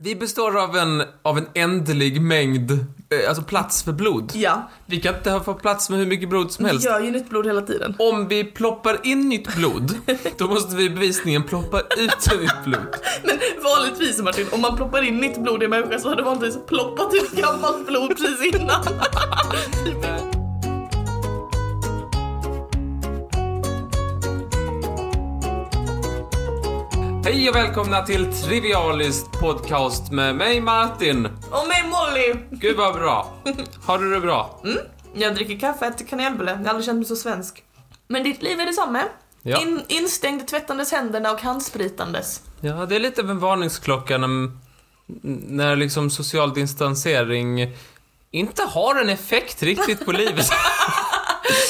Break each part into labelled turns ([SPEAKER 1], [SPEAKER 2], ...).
[SPEAKER 1] Vi består av en, av en ändlig mängd, eh, alltså plats för blod.
[SPEAKER 2] Ja,
[SPEAKER 1] Vi kan inte få plats med hur mycket blod som
[SPEAKER 2] vi
[SPEAKER 1] helst.
[SPEAKER 2] gör ju nytt blod hela tiden.
[SPEAKER 1] Om vi ploppar in nytt blod, då måste vi bevisningen ploppa ut nytt blod.
[SPEAKER 2] Men vanligtvis Martin, om man ploppar in nytt blod i en människa så hade man vanligtvis ploppat ut gammalt blod precis innan.
[SPEAKER 1] Hej och välkomna till Trivialist podcast med mig Martin.
[SPEAKER 2] Och mig Molly!
[SPEAKER 1] Gud vad bra. Har du det bra?
[SPEAKER 2] Jag dricker kaffe, äter kanelbulle. Jag har aldrig känt mig så svensk. Men ditt liv är detsamma.
[SPEAKER 1] Ja.
[SPEAKER 2] Mm. In, instängd, tvättandes händerna och handspritandes.
[SPEAKER 1] Ja, det är lite av en varningsklocka när, när liksom social distansering inte har en effekt riktigt på livet.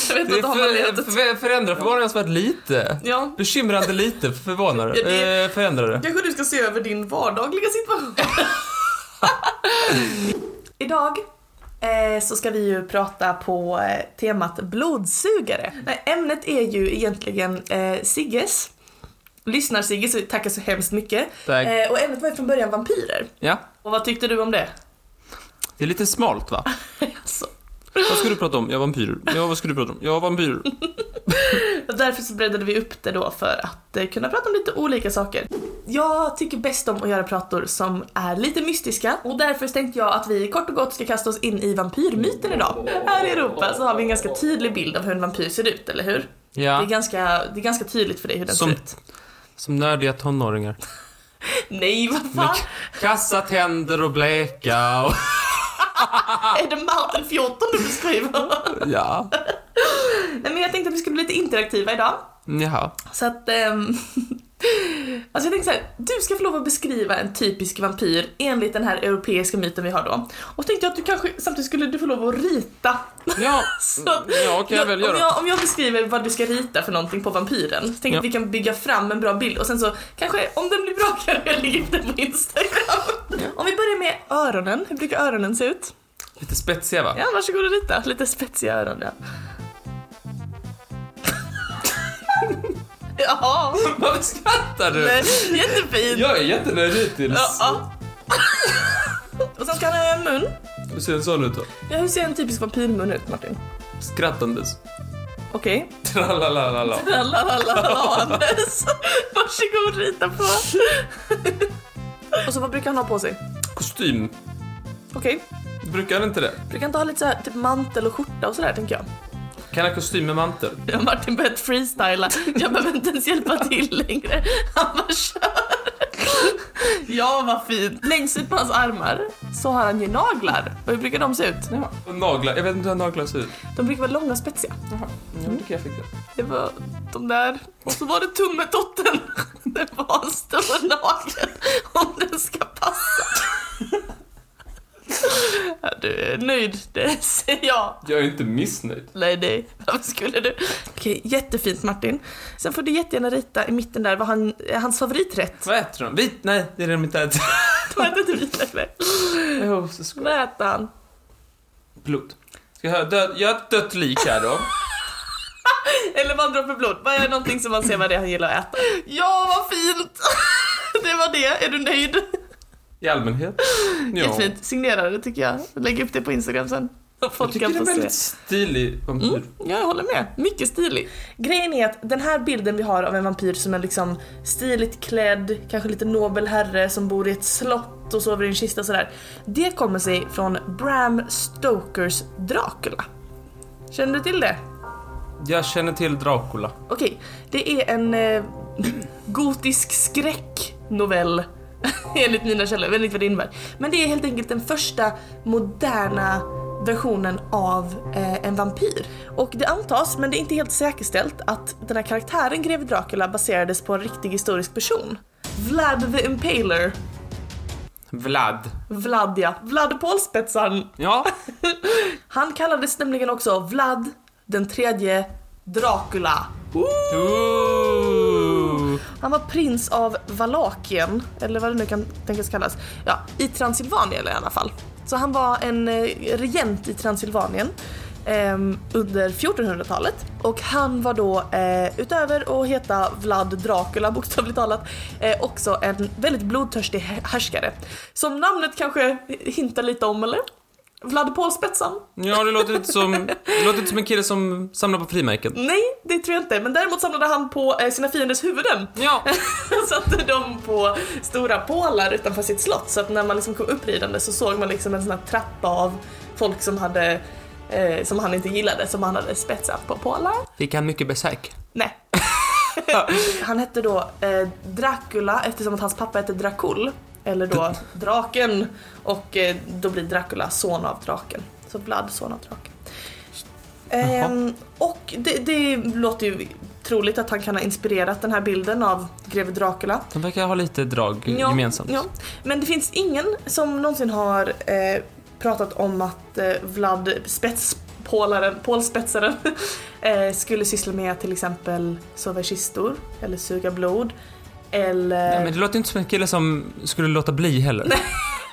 [SPEAKER 2] Jag vet
[SPEAKER 1] Det
[SPEAKER 2] inte, har man
[SPEAKER 1] för,
[SPEAKER 2] letat?
[SPEAKER 1] för, förändrar förvånansvärt lite.
[SPEAKER 2] Ja.
[SPEAKER 1] Bekymrande lite förvånar
[SPEAKER 2] Ja, det-
[SPEAKER 1] eh, förändrar det.
[SPEAKER 2] Kanske du ska se över din vardagliga situation. Idag eh, så ska vi ju prata på eh, temat blodsugare. Nej, ämnet är ju egentligen eh, Sigges. Lyssnar-Sigge, så tackar så hemskt mycket.
[SPEAKER 1] Tack.
[SPEAKER 2] Eh, och ämnet var ju från början vampyrer.
[SPEAKER 1] Ja,
[SPEAKER 2] Och vad tyckte du om det?
[SPEAKER 1] det är lite smalt va?
[SPEAKER 2] Alltså,
[SPEAKER 1] Vad ska du prata om? Jag vampyrer. Ja, vad ska du prata om? Jag vampyrer.
[SPEAKER 2] Och Därför så breddade vi upp det då för att eh, kunna prata om lite olika saker. Jag tycker bäst om att göra prator som är lite mystiska och därför tänkte jag att vi kort och gott ska kasta oss in i vampyrmyten idag. Här i Europa så har vi en ganska tydlig bild av hur en vampyr ser ut, eller hur? Det, är
[SPEAKER 1] Ja,
[SPEAKER 2] ganska, det är ganska tydligt för dig hur den
[SPEAKER 1] Som-
[SPEAKER 2] ser ut.
[SPEAKER 1] som nördiga tonåringar.
[SPEAKER 2] Nej, vad
[SPEAKER 1] Med
[SPEAKER 2] fan!
[SPEAKER 1] k- kassa tänder och bleka och...
[SPEAKER 2] Är det Martin 14 du beskriver?
[SPEAKER 1] Ja.
[SPEAKER 2] Nej men jag tänkte att vi skulle bli lite interaktiva idag.
[SPEAKER 1] Jaha.
[SPEAKER 2] Så att... ehm, alltså jag tänkte så här, du ska få lov att beskriva en typisk vampyr enligt den här europeiska myten vi har då. Och tänkte jag att du kanske samtidigt skulle du få lov att rita.
[SPEAKER 1] Ja,
[SPEAKER 2] Så att-
[SPEAKER 1] ja Mm. kan jag väl
[SPEAKER 2] om,
[SPEAKER 1] göra.
[SPEAKER 2] jag, om jag beskriver vad du ska rita för någonting på vampyren, så tänker jag
[SPEAKER 1] Ja.
[SPEAKER 2] att vi kan bygga fram en bra bild och sen så kanske, om den blir bra kanske jag lägger ut den på Instagram. Om vi börjar med öronen, hur brukar öronen se ut?
[SPEAKER 1] Lite spetsiga va?
[SPEAKER 2] Ja, varsågod och rita. Lite spetsiga öron, ja. Jaha.
[SPEAKER 1] Varför skrattar du?
[SPEAKER 2] Nej, jättefin.
[SPEAKER 1] Jag är jättenöjd hittills.
[SPEAKER 2] Ja. Och sen ska han ha en mun.
[SPEAKER 1] Hur ser en sån ut då?
[SPEAKER 2] Ja, hur ser en typisk vampyrmun ut Martin?
[SPEAKER 1] Skrattandes.
[SPEAKER 2] Okej.
[SPEAKER 1] Tralalalala.
[SPEAKER 2] Lalalalalandes. Varsågod rita på. Och så vad brukar han ha på sig?
[SPEAKER 1] Kostym.
[SPEAKER 2] Okej.
[SPEAKER 1] Brukar han inte det?
[SPEAKER 2] Brukar han ta lite så här, typ mantel och skjorta och sådär tänker jag.
[SPEAKER 1] Kan ha kostym med mantel.
[SPEAKER 2] Ja, Martin börjat freestyla. Jag behöver inte ens hjälpa till längre. Han bara kör. Ja, vad fint. Längst ut på hans armar så har han ju naglar. Och hur brukar de se ut?
[SPEAKER 1] Ja. Och Naglar. Jag vet inte hur naglar ser ut.
[SPEAKER 2] De brukar vara långa och spetsiga.
[SPEAKER 1] Jaha. Jag tycker jag fick det.
[SPEAKER 2] Det var de där. Och så var det tummetotten. Det var en stor nagel. Om den ska passa. Ja, du är nöjd, det ser jag.
[SPEAKER 1] Jag är inte missnöjd.
[SPEAKER 2] Nej, nej. Varför skulle du? Okej, jättefint Martin. Sen får du jättegärna rita i mitten där vad han, eh, hans favoriträtt.
[SPEAKER 1] Vad äter de? Vit? Nej, det är det de inte äter.
[SPEAKER 2] De äter inte vit längre.
[SPEAKER 1] Jo, så ska-
[SPEAKER 2] Vad äter han?
[SPEAKER 1] Blod. Ska jag ha död... Jag har ett dött lik här då.
[SPEAKER 2] Eller vad droppar blod? Vad är någonting som man ser vad det är han gillar att äta? Ja, vad fint! Det var det. Är du nöjd?
[SPEAKER 1] I allmänhet.
[SPEAKER 2] Jättefint. Signera det tycker jag. Lägg upp det på Instagram sen. Och
[SPEAKER 1] Jag
[SPEAKER 2] folk
[SPEAKER 1] tycker
[SPEAKER 2] kan
[SPEAKER 1] det är
[SPEAKER 2] få
[SPEAKER 1] en
[SPEAKER 2] se.
[SPEAKER 1] väldigt stilig vampyr.
[SPEAKER 2] Mm, ja, jag håller med. Mycket stilig. Grejen är att den här bilden vi har av en vampyr som är liksom stiligt klädd, kanske lite nobel herre som bor i ett slott och sover i en kista och sådär. Det kommer sig från Bram Stokers Dracula. Känner du till det?
[SPEAKER 1] Jag känner till Dracula.
[SPEAKER 2] Okej, det är en eh, gotisk skräcknovell enligt mina källor, enligt vad det innebär. Men det är helt enkelt den första moderna versionen av eh, en vampyr. Och det antas, men det är inte helt säkerställt, att den här karaktären greve Dracula baserades på en riktig historisk person. Vlad the Impaler.
[SPEAKER 1] Vlad.
[SPEAKER 2] Vlad ja. Vlad Pålspetsan.
[SPEAKER 1] Ja.
[SPEAKER 2] Han kallades nämligen också Vlad den tredje Dracula.
[SPEAKER 1] Ooh.
[SPEAKER 2] Han var prins av Valakien, eller vad det nu kan tänkas kallas, ja, i Transsylvanien i alla fall. Så han var en eh, regent i Transsylvanien. ehm, under 1400-talet. Och han var då, eh, utöver att heta Vlad Dracula bokstavligt talat, eh, också en väldigt blodtörstig hä- härskare. Som namnet kanske hintar lite om, eller? Vlad Pålspetsan?
[SPEAKER 1] Ja, det låter inte som, det låter inte som en kille som samlar på frimärken.
[SPEAKER 2] Nej, det tror jag inte. Men däremot samlade han på eh, sina fienders huvuden.
[SPEAKER 1] Ja.
[SPEAKER 2] Och satte dem på stora pålar utanför sitt slott så att när man liksom kom uppridande så såg man liksom en sån här trappa av folk som hade eh, som han inte gillade, som han hade spetsat på pålar.
[SPEAKER 1] Fick han mycket besök?
[SPEAKER 2] Nej. han hette då eh, Dracula eftersom att hans pappa hette Dracul, eller då draken, och eh, då blir Dracula son av draken. Så Vlad, son av draken. Ehm, och det, det låter ju troligt att han kan ha inspirerat den här bilden av greve Dracula.
[SPEAKER 1] De verkar ha lite drag gemensamt.
[SPEAKER 2] Ja. Men det finns ingen som någonsin har eh, pratat om att eh, Vlad spetspålaren, pålspetsaren eh, skulle syssla med till exempel sova i kistor eller suga blod. Eller
[SPEAKER 1] Nej, men det låter inte som en kille som skulle låta bli heller.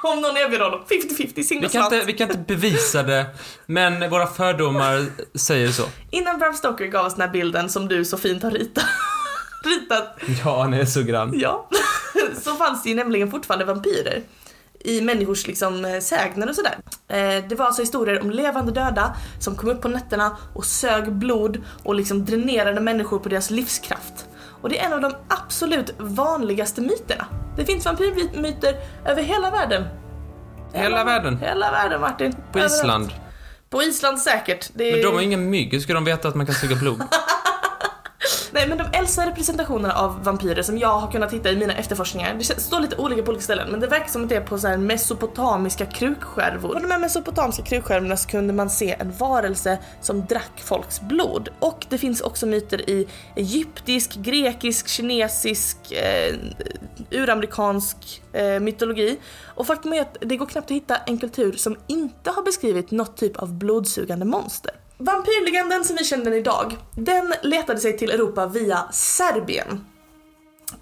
[SPEAKER 2] om någon erbjuder honom 50-50
[SPEAKER 1] vi,
[SPEAKER 2] singla
[SPEAKER 1] kan
[SPEAKER 2] slant.
[SPEAKER 1] inte, vi kan inte bevisa det, men våra fördomar säger så.
[SPEAKER 2] Innan Bram Stoker gav oss den här bilden som du så fint har ritat, ritat
[SPEAKER 1] Ja, han är så grann.
[SPEAKER 2] Ja, så fanns det ju nämligen fortfarande vampyrer i människors liksom eh, sägner och sådär. Eh, Det var alltså historier om levande döda som kom upp på nätterna och sög blod och liksom dränerade människor på deras livskraft. Och det är en av de absolut vanligaste myterna. Det finns vampyrmyter över hela världen.
[SPEAKER 1] Hela världen.
[SPEAKER 2] Hela världen Martin.
[SPEAKER 1] På
[SPEAKER 2] Överallt.
[SPEAKER 1] Island.
[SPEAKER 2] På Island säkert. Det är...
[SPEAKER 1] Men de har ju ingen mygg, hur ska de veta att man kan suga blod?
[SPEAKER 2] Nej men de äldsta representationerna av vampyrer som jag har kunnat hitta i mina efterforskningar, det känns- står lite olika på olika ställen men det verkar som att det är på så här mesopotamiska krukskärvor. På de här mesopotamiska krukskärvorna så kunde man se en varelse som drack folks blod. Och det finns också myter i egyptisk, grekisk, kinesisk, eh, uramerikansk eh, mytologi. Och faktum är att det går knappt att hitta en kultur som inte har beskrivit något typ av blodsugande monster. Vampyrlegenden som vi känner den idag, den letade sig till Europa via Serbien.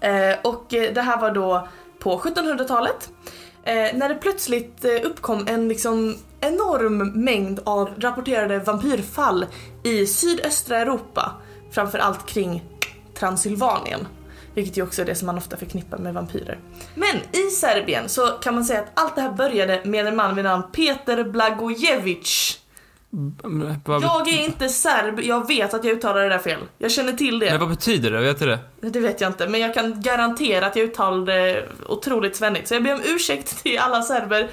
[SPEAKER 2] Eh, och eh, det här var då på 1700-talet. Eh, när det plötsligt eh, uppkom en liksom enorm mängd av rapporterade vampyrfall i sydöstra Europa. Framförallt kring Transylvanien. Vilket ju också är det som man ofta förknippar med vampyrer. Men i Serbien så kan man säga att allt det här började med en man vid namn Peter Blagojevic.
[SPEAKER 1] Men Vad,
[SPEAKER 2] Jag är inte serb, jag vet att jag uttalar det där fel. Jag känner till det.
[SPEAKER 1] men vad betyder det? Vet du det?
[SPEAKER 2] Det vet jag inte, men jag kan garantera att jag uttalade det otroligt svennigt. Så jag ber om ursäkt till alla serber.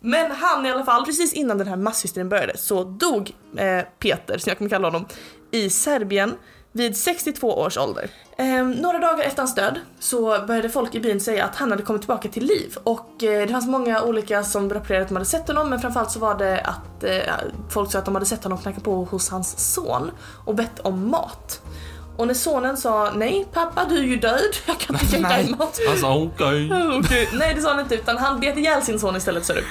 [SPEAKER 2] Men han i alla fall, precis innan den här masshysterin började så dog eh, Peter, som jag kommer kalla honom, i Serbien vid 62 års ålder. Eh, några dagar efter hans död så började folk i byn säga att han hade kommit tillbaka till liv och eh, det fanns många olika som rapporterade att de hade sett honom men framförallt så var det att eh, folk sa att de hade sett honom knacka på hos hans son och bett om mat. Och när sonen sa nej pappa du är ju död, jag kan inte ge dig mat.
[SPEAKER 1] Alltså okej.
[SPEAKER 2] Okej. Nej det sa han inte utan han bet ihjäl sin son istället sa du.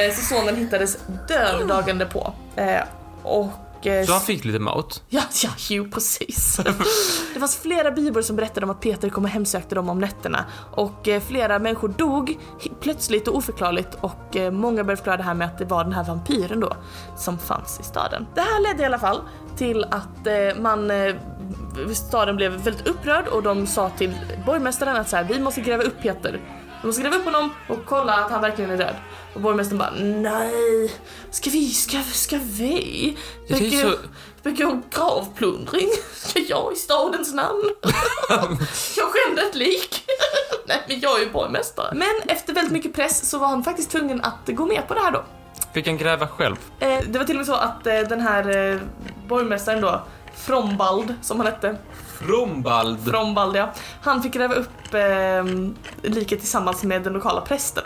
[SPEAKER 2] Eh, Så sonen hittades död dagen därpå. Eh, Och... eh,
[SPEAKER 1] Så han fick lite mat.
[SPEAKER 2] Ja, ja, jo precis. Det fanns flera bybor som berättade om att Peter kom och hemsökte dem om nätterna och eh, flera människor dog he- plötsligt och oförklarligt och eh, många började förklara det här med att det var den här vampyren då som fanns i staden. Det här ledde i alla fall till att eh, man eh, staden blev väldigt upprörd och de sa till borgmästaren att så här, vi måste gräva upp Peter. Vi måste gräva upp honom och kolla att han verkligen är död. Och borgmästaren bara nej, ska vi, ska, ska vi? eh,
[SPEAKER 1] Det är ju
[SPEAKER 2] Mycket-
[SPEAKER 1] så...
[SPEAKER 2] begå gravplundring? Ska jag i stadens namn? jag skämde ett lik. Nej men jag är ju borgmästare. Men efter väldigt mycket press så var han faktiskt tvungen att gå med på det här då.
[SPEAKER 1] Fick han gräva själv?
[SPEAKER 2] Eh, det var till och med så att eh, den här eh, borgmästaren då, Frombald som han hette,
[SPEAKER 1] Rombald.
[SPEAKER 2] Frombald ja, han fick gräva upp eh, liket tillsammans med den lokala prästen.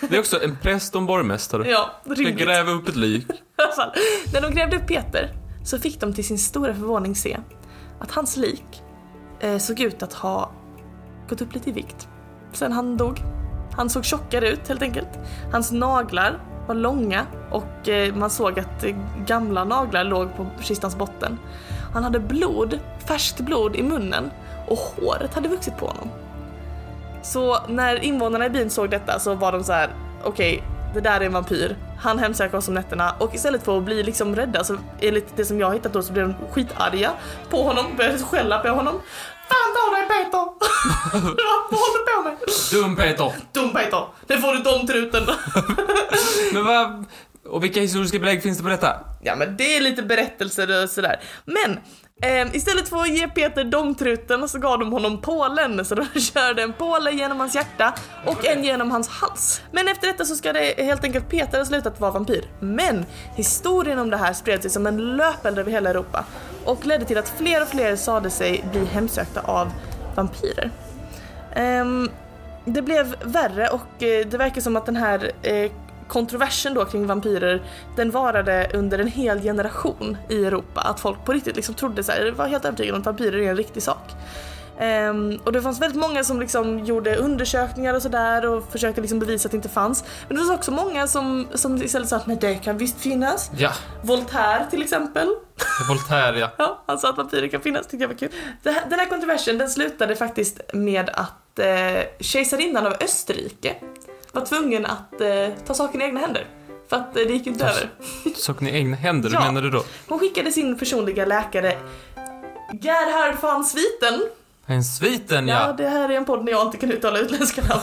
[SPEAKER 1] Det är också en präst och en borgmästare.
[SPEAKER 2] Ja,
[SPEAKER 1] Ska
[SPEAKER 2] rimligt.
[SPEAKER 1] gräva upp ett lik.
[SPEAKER 2] I alla fall. När de grävde upp Peter så fick de till sin stora förvåning se att hans lik eh, såg ut att ha gått upp lite i vikt sen han dog. Han såg tjockare ut helt enkelt. Hans naglar var långa och eh, man såg att eh, gamla naglar låg på kistans botten. Han hade blod, färskt blod i munnen och håret hade vuxit på honom. Så när invånarna i byn såg detta så var de så här: okej, det där är en vampyr. Han hemsöker oss om nätterna och istället för att bli liksom rädda så enligt det som jag har hittat då så blev de skitarga på honom, började skälla på honom. Fan ta dig Peter! Vad håller du på med?
[SPEAKER 1] Dum Peter!
[SPEAKER 2] Dum Peter! Nu får du domtruten!
[SPEAKER 1] Men vad... Och vilka historiska belägg finns det på detta?
[SPEAKER 2] ja men det är lite berättelser och sådär. Men ehm, istället för att ge Peter domtruten så gav de honom pålen så de körde en påle genom hans hjärta och en genom hans hals. Men efter detta så ska det helt enkelt Peter ha slutat vara vampyr. Men historien om det här spred sig som en löpeld över hela Europa och ledde till att fler och fler sade sig bli hemsökta av vampyrer. Ehm, det blev värre och eh, det verkar som att den här eh, kontroversen då kring vampyrer den varade under en hel generation i Europa. Att folk på riktigt liksom trodde så här, var helt övertygade om att vampyrer är en riktig sak. Ehm, och det fanns väldigt många som liksom gjorde undersökningar och sådär och försökte liksom bevisa att det inte fanns. Men det fanns också många som, som istället sa att nej det kan visst finnas.
[SPEAKER 1] Ja,
[SPEAKER 2] Voltaire till exempel.
[SPEAKER 1] Voltaire ja.
[SPEAKER 2] Ja, han sa att vampyrer kan finnas, tyckte jag var kul. Det här, den här kontroversen den slutade faktiskt med att eh, kejsarinnan av Österrike var tvungen att eh, ta saken i egna händer. För att eh, det gick inte över.
[SPEAKER 1] Saken i egna händer,
[SPEAKER 2] Ja.
[SPEAKER 1] menar du då?
[SPEAKER 2] Hon skickade sin personliga läkare Gerhard van Swieten.
[SPEAKER 1] En sviten
[SPEAKER 2] Ja.
[SPEAKER 1] ja!
[SPEAKER 2] det här är en podd när jag inte kan uttala utländska namn.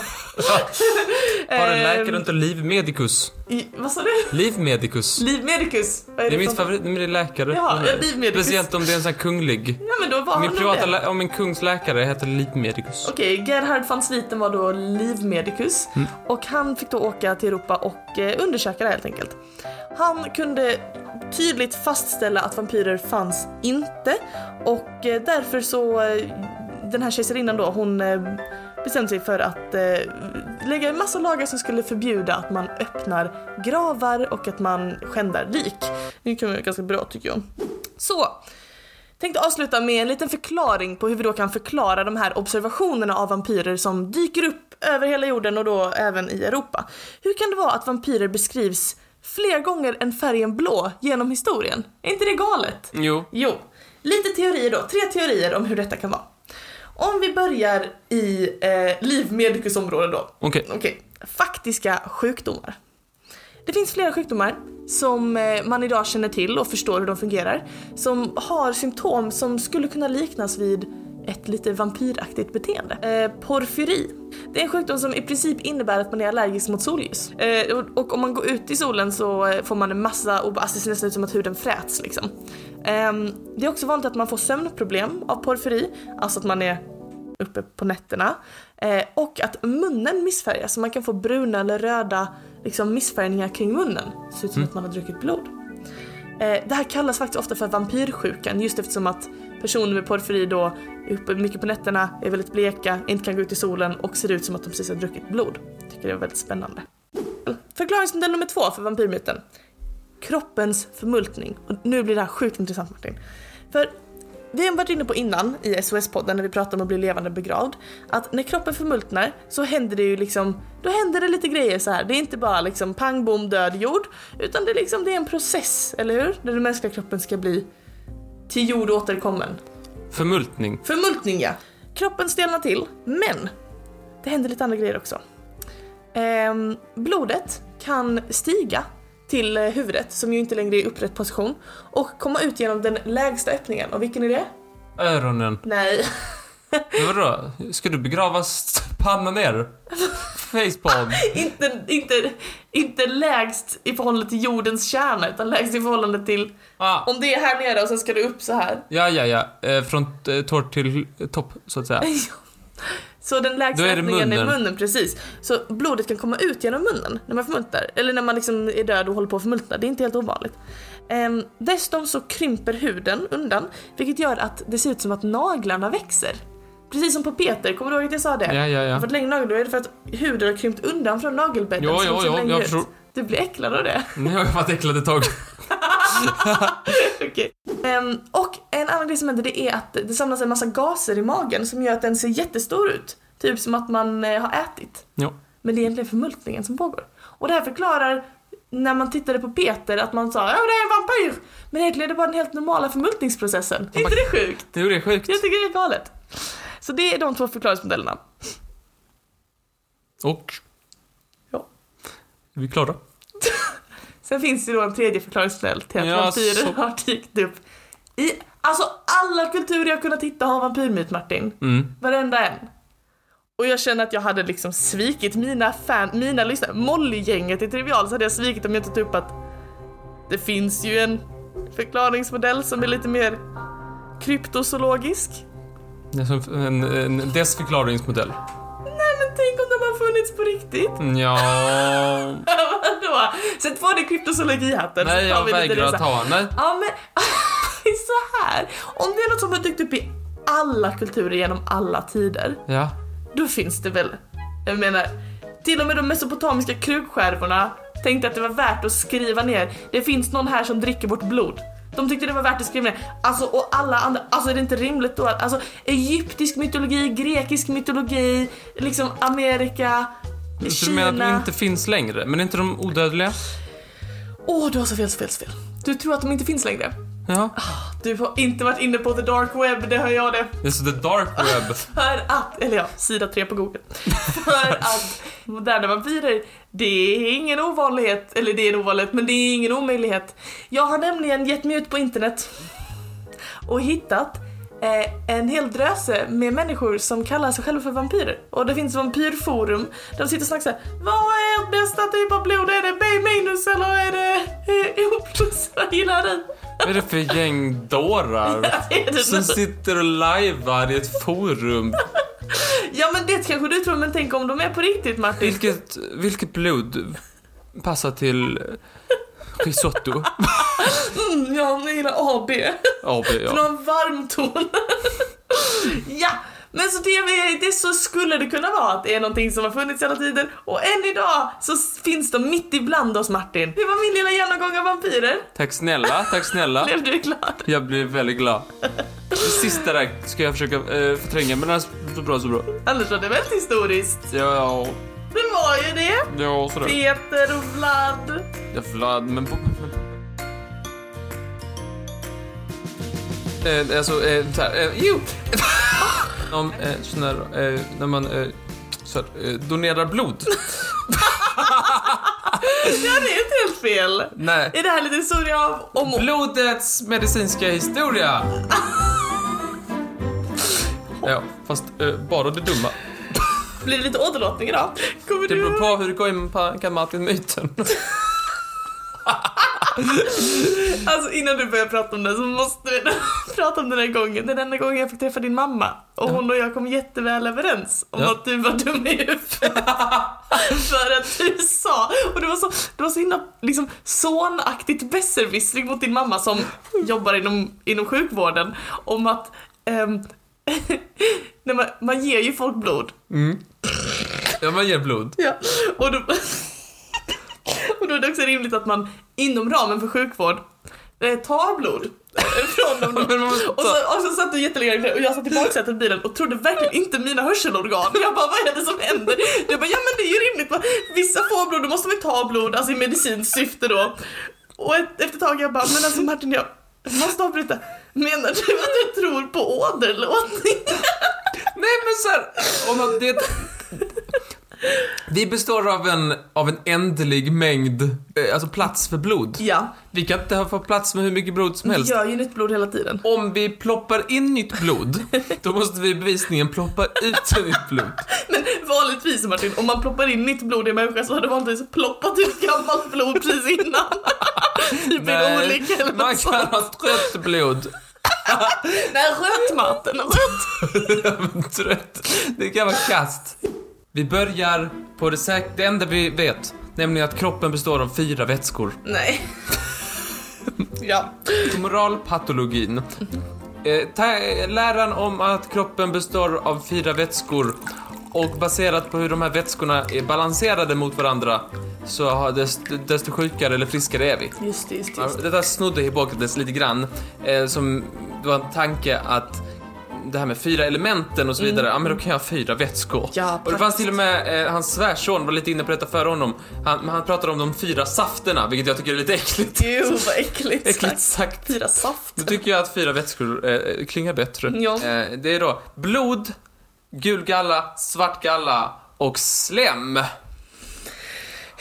[SPEAKER 1] Har en läkare
[SPEAKER 2] Ehm,
[SPEAKER 1] och inte Liv Medicus?
[SPEAKER 2] i- Vad sa du?
[SPEAKER 1] Liv Medicus.
[SPEAKER 2] Liv medicus. Vad
[SPEAKER 1] Det är
[SPEAKER 2] för-
[SPEAKER 1] mitt favorit, men det är läkare. Mm.
[SPEAKER 2] Ja, ja, Liv Medicus.
[SPEAKER 1] Speciellt om det är en sån här kunglig.
[SPEAKER 2] Ja men då var
[SPEAKER 1] Min
[SPEAKER 2] han
[SPEAKER 1] privata,
[SPEAKER 2] nog det.
[SPEAKER 1] lä- om min kungsläkare heter Liv Medicus.
[SPEAKER 2] Okej, Gerhard van Swieten var då livmedikus och han fick då åka till Europa och eh, undersöka det helt enkelt. Han kunde tydligt fastställa att vampyrer fanns inte och eh, därför så eh, den här kejsarinnan då hon eh, bestämde sig för att eh, lägga en massa lagar som skulle förbjuda att man öppnar gravar och att man skändar lik. Det kan vara ganska bra tycker jag. Så, tänkte avsluta med en liten förklaring på hur vi då kan förklara de här observationerna av vampyrer som dyker upp över hela jorden och då även i Europa. Hur kan det vara att vampyrer beskrivs fler gånger än färgen blå genom historien? Är inte det galet?
[SPEAKER 1] Jo.
[SPEAKER 2] Jo, lite teorier då. Tre teorier om hur detta kan vara. Om vi börjar i eh, livmedikusområdet då.
[SPEAKER 1] Okej.
[SPEAKER 2] Okej, faktiska sjukdomar. Det finns flera sjukdomar som eh, man idag känner till och förstår hur de fungerar. Som har symptom som skulle kunna liknas vid ett lite vampyraktigt beteende. Eh, porfyri. Det är en sjukdom som i princip innebär att man är allergisk mot solljus. Eh, och, och om man går ut i solen så eh, får man en massa, och alltså, det ser nästan ut som att huden fräts liksom. Ehm, det är också vanligt att man får sömnproblem av porfyri, alltså att man är uppe på nätterna. Eh, och att munnen missfärgas, så man kan få bruna eller röda liksom, missfärgningar kring munnen. Det ser ut som att man har druckit blod. Eh, det här kallas faktiskt ofta för vampyrsjukan just eftersom att personer med porfyri då är uppe mycket på nätterna, är väldigt bleka, inte kan gå ut i solen och ser ut som att de precis har druckit blod. Jag tycker det var väldigt spännande. Förklaringsmodell nummer två för vampyrmyten. Kroppens förmultning. Och nu blir det här sjukt intressant Martin. För vi har varit inne på innan i SOS-podden när vi pratade om att bli levande begravd att när kroppen förmultnar så händer det ju liksom, då händer det lite grejer så här. Det är inte bara liksom pang bom död jord utan det är liksom det är en process, eller hur? Där den mänskliga kroppen ska bli till jord återkommen.
[SPEAKER 1] Förmultning.
[SPEAKER 2] Förmultning ja. Kroppen stelnar till, men det händer lite andra grejer också. Ehm, blodet kan stiga till eh, huvudet som ju inte längre är i upprätt position och komma ut genom den lägsta öppningen. Och vilken är det?
[SPEAKER 1] Öronen.
[SPEAKER 2] Nej.
[SPEAKER 1] Men vadå? Ska du begravas panna ner? Facepalm.
[SPEAKER 2] inte, inte, inte lägst i förhållande till jordens kärna utan lägst i förhållande till
[SPEAKER 1] Ah.
[SPEAKER 2] om det är här nere och sen ska du upp så här.
[SPEAKER 1] Ja, ja, ja. Eh, från eh, torr till eh, topp, så att säga.
[SPEAKER 2] Så den lägsta
[SPEAKER 1] Då är det
[SPEAKER 2] öppningen är
[SPEAKER 1] munnen.
[SPEAKER 2] munnen, precis. Så blodet kan komma ut genom munnen när man förmultnar. Eller när man liksom är död och håller på att förmultna. Det är inte helt ovanligt. Ehm, dessutom så krymper huden undan, vilket gör att det ser ut som att naglarna växer. Precis som på Peter, kommer du ihåg att jag sa det?
[SPEAKER 1] Ja, ja,
[SPEAKER 2] Har
[SPEAKER 1] ja.
[SPEAKER 2] fått längre naglar, då är det för att huden har krympt undan från nagelbädden.
[SPEAKER 1] Jo,
[SPEAKER 2] så de
[SPEAKER 1] jo,
[SPEAKER 2] ser
[SPEAKER 1] jo,
[SPEAKER 2] längre
[SPEAKER 1] jag
[SPEAKER 2] ut.
[SPEAKER 1] förstår.
[SPEAKER 2] Du blir äcklad av det.
[SPEAKER 1] Nu har jag varit äcklad ett tag.
[SPEAKER 2] Okej. Ehm, och en annan grej som händer det är att det samlas en massa gaser i magen som gör att den ser jättestor ut. Typ som att man eh, har ätit.
[SPEAKER 1] Ja.
[SPEAKER 2] Men det är egentligen förmultningen som pågår. Och det här förklarar när man tittade på Peter att man sa Åh, det är en vampyr! Men egentligen är det bara den helt normala förmultningsprocessen. Är inte det sjukt?
[SPEAKER 1] Jo, det är sjukt.
[SPEAKER 2] Jag tycker det är galet. Så det är de två förklaringsmodellerna.
[SPEAKER 1] Och?
[SPEAKER 2] Ja.
[SPEAKER 1] Vi är klara.
[SPEAKER 2] Sen finns det då en tredje förklaringsmodell till att
[SPEAKER 1] Ja,
[SPEAKER 2] vampyrer
[SPEAKER 1] så-
[SPEAKER 2] har dykt upp i alltså alla kulturer jag kunnat hitta har vampyrmyt Martin.
[SPEAKER 1] Mm.
[SPEAKER 2] Varenda en. Och jag känner att jag hade liksom svikit mina fan, mina lyssnare. Mollygänget i Trivial så hade jag svikit om jag inte tog upp att det finns ju en förklaringsmodell som är lite mer kryptozoologisk.
[SPEAKER 1] Det är som en, en desförklaringsmodell.
[SPEAKER 2] Nej men tänk om de har funnits på
[SPEAKER 1] Mm.
[SPEAKER 2] riktigt.
[SPEAKER 1] Ja.
[SPEAKER 2] Vadå? Sätt på dig kryptozoologihatten
[SPEAKER 1] Nej, jag
[SPEAKER 2] lite
[SPEAKER 1] vägrar
[SPEAKER 2] resa.
[SPEAKER 1] att ta. Nej.
[SPEAKER 2] Ja men det är så här. Om det är något som har dykt upp i alla kulturer genom alla tider,
[SPEAKER 1] Ja.
[SPEAKER 2] då finns det väl, jag menar, till och med de mesopotamiska krukskärvorna tänkte att det var värt att skriva ner, det finns någon här som dricker vårt blod. De tyckte det var värt att skriva ner. Alltså och alla andra, alltså är det inte rimligt då att, alltså egyptisk mytologi, grekisk mytologi, liksom Amerika,
[SPEAKER 1] Så du menar att de
[SPEAKER 2] Kina.
[SPEAKER 1] inte finns längre? Men är inte de odödliga?
[SPEAKER 2] Åh du har så fel, så fel, så fel. Du tror att de inte finns längre.
[SPEAKER 1] Ja.
[SPEAKER 2] Du har inte varit inne på the dark web, det hör jag det.
[SPEAKER 1] Det är så the dark web.
[SPEAKER 2] För att, eller ja, sida 3 på google. För att moderna vampyrer, det är ingen ovanlighet, eller det är en ovanlighet, men det är ingen omöjlighet. Jag har nämligen gett mig ut på internet och hittat eh, en hel dröse med människor som kallar sig själva för vampyrer. Och det finns vampyrforum. De sitter och snackar såhär, vad är ert bästa typ av blod? Är det B minus eller är det eh, O plus? Vad gillar du?
[SPEAKER 1] Vad är det för gäng dårar?
[SPEAKER 2] Är typ det
[SPEAKER 1] Som
[SPEAKER 2] något?
[SPEAKER 1] sitter och lajvar i ett forum.
[SPEAKER 2] Ja men det kanske du tror, men tänk om de är på riktigt Martin?
[SPEAKER 1] Vilket, vilket blod passar till risotto?
[SPEAKER 2] Mm, ja, jag gillar AB.
[SPEAKER 1] AB,
[SPEAKER 2] För
[SPEAKER 1] ja.
[SPEAKER 2] någon varm ton. ja, men så det, är- det är så skulle det kunna vara att det är någonting som har funnits hela tiden och än idag så s- finns de mitt ibland oss Martin. Det var min lilla genomgång av vampyrer.
[SPEAKER 1] Tack snälla, tack snälla.
[SPEAKER 2] Blev du glad?
[SPEAKER 1] Jag blir väldigt glad. Det sista där ska jag försöka eh, förtränga, men det är så bra, så bra.
[SPEAKER 2] Annars var det väldigt historiskt.
[SPEAKER 1] Ja,
[SPEAKER 2] Det var ju det.
[SPEAKER 1] ja, sådär.
[SPEAKER 2] Peter och Vlad.
[SPEAKER 1] Ja, Vlad, men... Eh, alltså, eh, så här, eh, jo! Om, eh, så när, eh, när man eh, så här, eh, donerar blod.
[SPEAKER 2] Ja, det är inte helt fel.
[SPEAKER 1] Nej.
[SPEAKER 2] Är det här lite historia av om...
[SPEAKER 1] Blodets medicinska historia. Ja, fast eh, bara det dumma.
[SPEAKER 2] Blir det lite åderlåtning idag? Kommer
[SPEAKER 1] Det
[SPEAKER 2] du...
[SPEAKER 1] beror på hur det går in kan man till myten.
[SPEAKER 2] Alltså innan du börjar prata om det så måste vi prata om den här gången. Det är den enda gången jag fick träffa din mamma. Och hon och jag kom jätteväl överens om
[SPEAKER 1] Ja.
[SPEAKER 2] att du var dum i huvudet. För att du sa, och det var så, det var så himla liksom, sonaktigt besserwissring mot din mamma som jobbar inom, inom sjukvården. Om att ehm, när man, man ger ju folk blod.
[SPEAKER 1] Mm. Ja, man ger blod.
[SPEAKER 2] Ja, och då, och då är det också rimligt att man inom ramen för sjukvård eh, tar blod eh, från dem. då.
[SPEAKER 1] Men man måste
[SPEAKER 2] Och så, och så satt du jättelänge och jag satt i baksätet i bilen och trodde verkligen inte mina hörselorgan. Jag bara, vad är det som händer? Jag bara, ja men det är ju rimligt. va? Vissa får blod, då måste man ju ta blod, alltså i medicinskt syfte då. Och ett, efter ett tag jag bara, men alltså Martin jag måste avbryta. Menar du att du tror på åderlåtning?
[SPEAKER 1] Nej men såhär, om att det... Vi består av en, av en ändlig mängd, eh, alltså plats för blod.
[SPEAKER 2] Ja,
[SPEAKER 1] Vi kan inte få plats med hur mycket blod som
[SPEAKER 2] vi
[SPEAKER 1] helst.
[SPEAKER 2] gör ju nytt blod hela tiden.
[SPEAKER 1] Om vi ploppar in nytt blod, då måste vi bevisningen ploppa ut nytt blod.
[SPEAKER 2] Men vanligtvis Martin, om man ploppar in nytt blod i en människa så har det vanligtvis ploppat ut gammalt blod precis innan. typ i en
[SPEAKER 1] Nej,
[SPEAKER 2] olycka eller
[SPEAKER 1] man
[SPEAKER 2] något sånt.
[SPEAKER 1] kan ha trött blod.
[SPEAKER 2] Nej, rött Martin, rött!
[SPEAKER 1] trött. Det kan vara kast. Vi börjar på det, säk- det enda vi vet, nämligen att kroppen består av fyra vätskor.
[SPEAKER 2] Nej. ja.
[SPEAKER 1] Moralpatologin. Eh, ta- eh, läran om att kroppen består av fyra vätskor och baserat på hur de här vätskorna är balanserade mot varandra så har desto, desto sjukare eller friskare är vi.
[SPEAKER 2] Just det, just det.
[SPEAKER 1] Ja,
[SPEAKER 2] Just. det.
[SPEAKER 1] Det där snodde Hippokrates lite grann. Eh, som, det var en tanke att det här med fyra elementen och så vidare, ja men då kan jag ha fyra vätskor.
[SPEAKER 2] Ja,
[SPEAKER 1] och det fanns
[SPEAKER 2] praktiskt.
[SPEAKER 1] till och med, eh, hans svärson var lite inne på detta före honom. Han, men han pratade om de fyra safterna, vilket jag tycker är lite äckligt.
[SPEAKER 2] Gud vad äckligt
[SPEAKER 1] Äckligt
[SPEAKER 2] sagt.
[SPEAKER 1] sagt.
[SPEAKER 2] Fyra saft.
[SPEAKER 1] Då tycker jag att fyra vätskor eh, klingar bättre.
[SPEAKER 2] Ja.
[SPEAKER 1] Eh, det är då blod, gul galla, svart galla och slem.
[SPEAKER 2] Ja,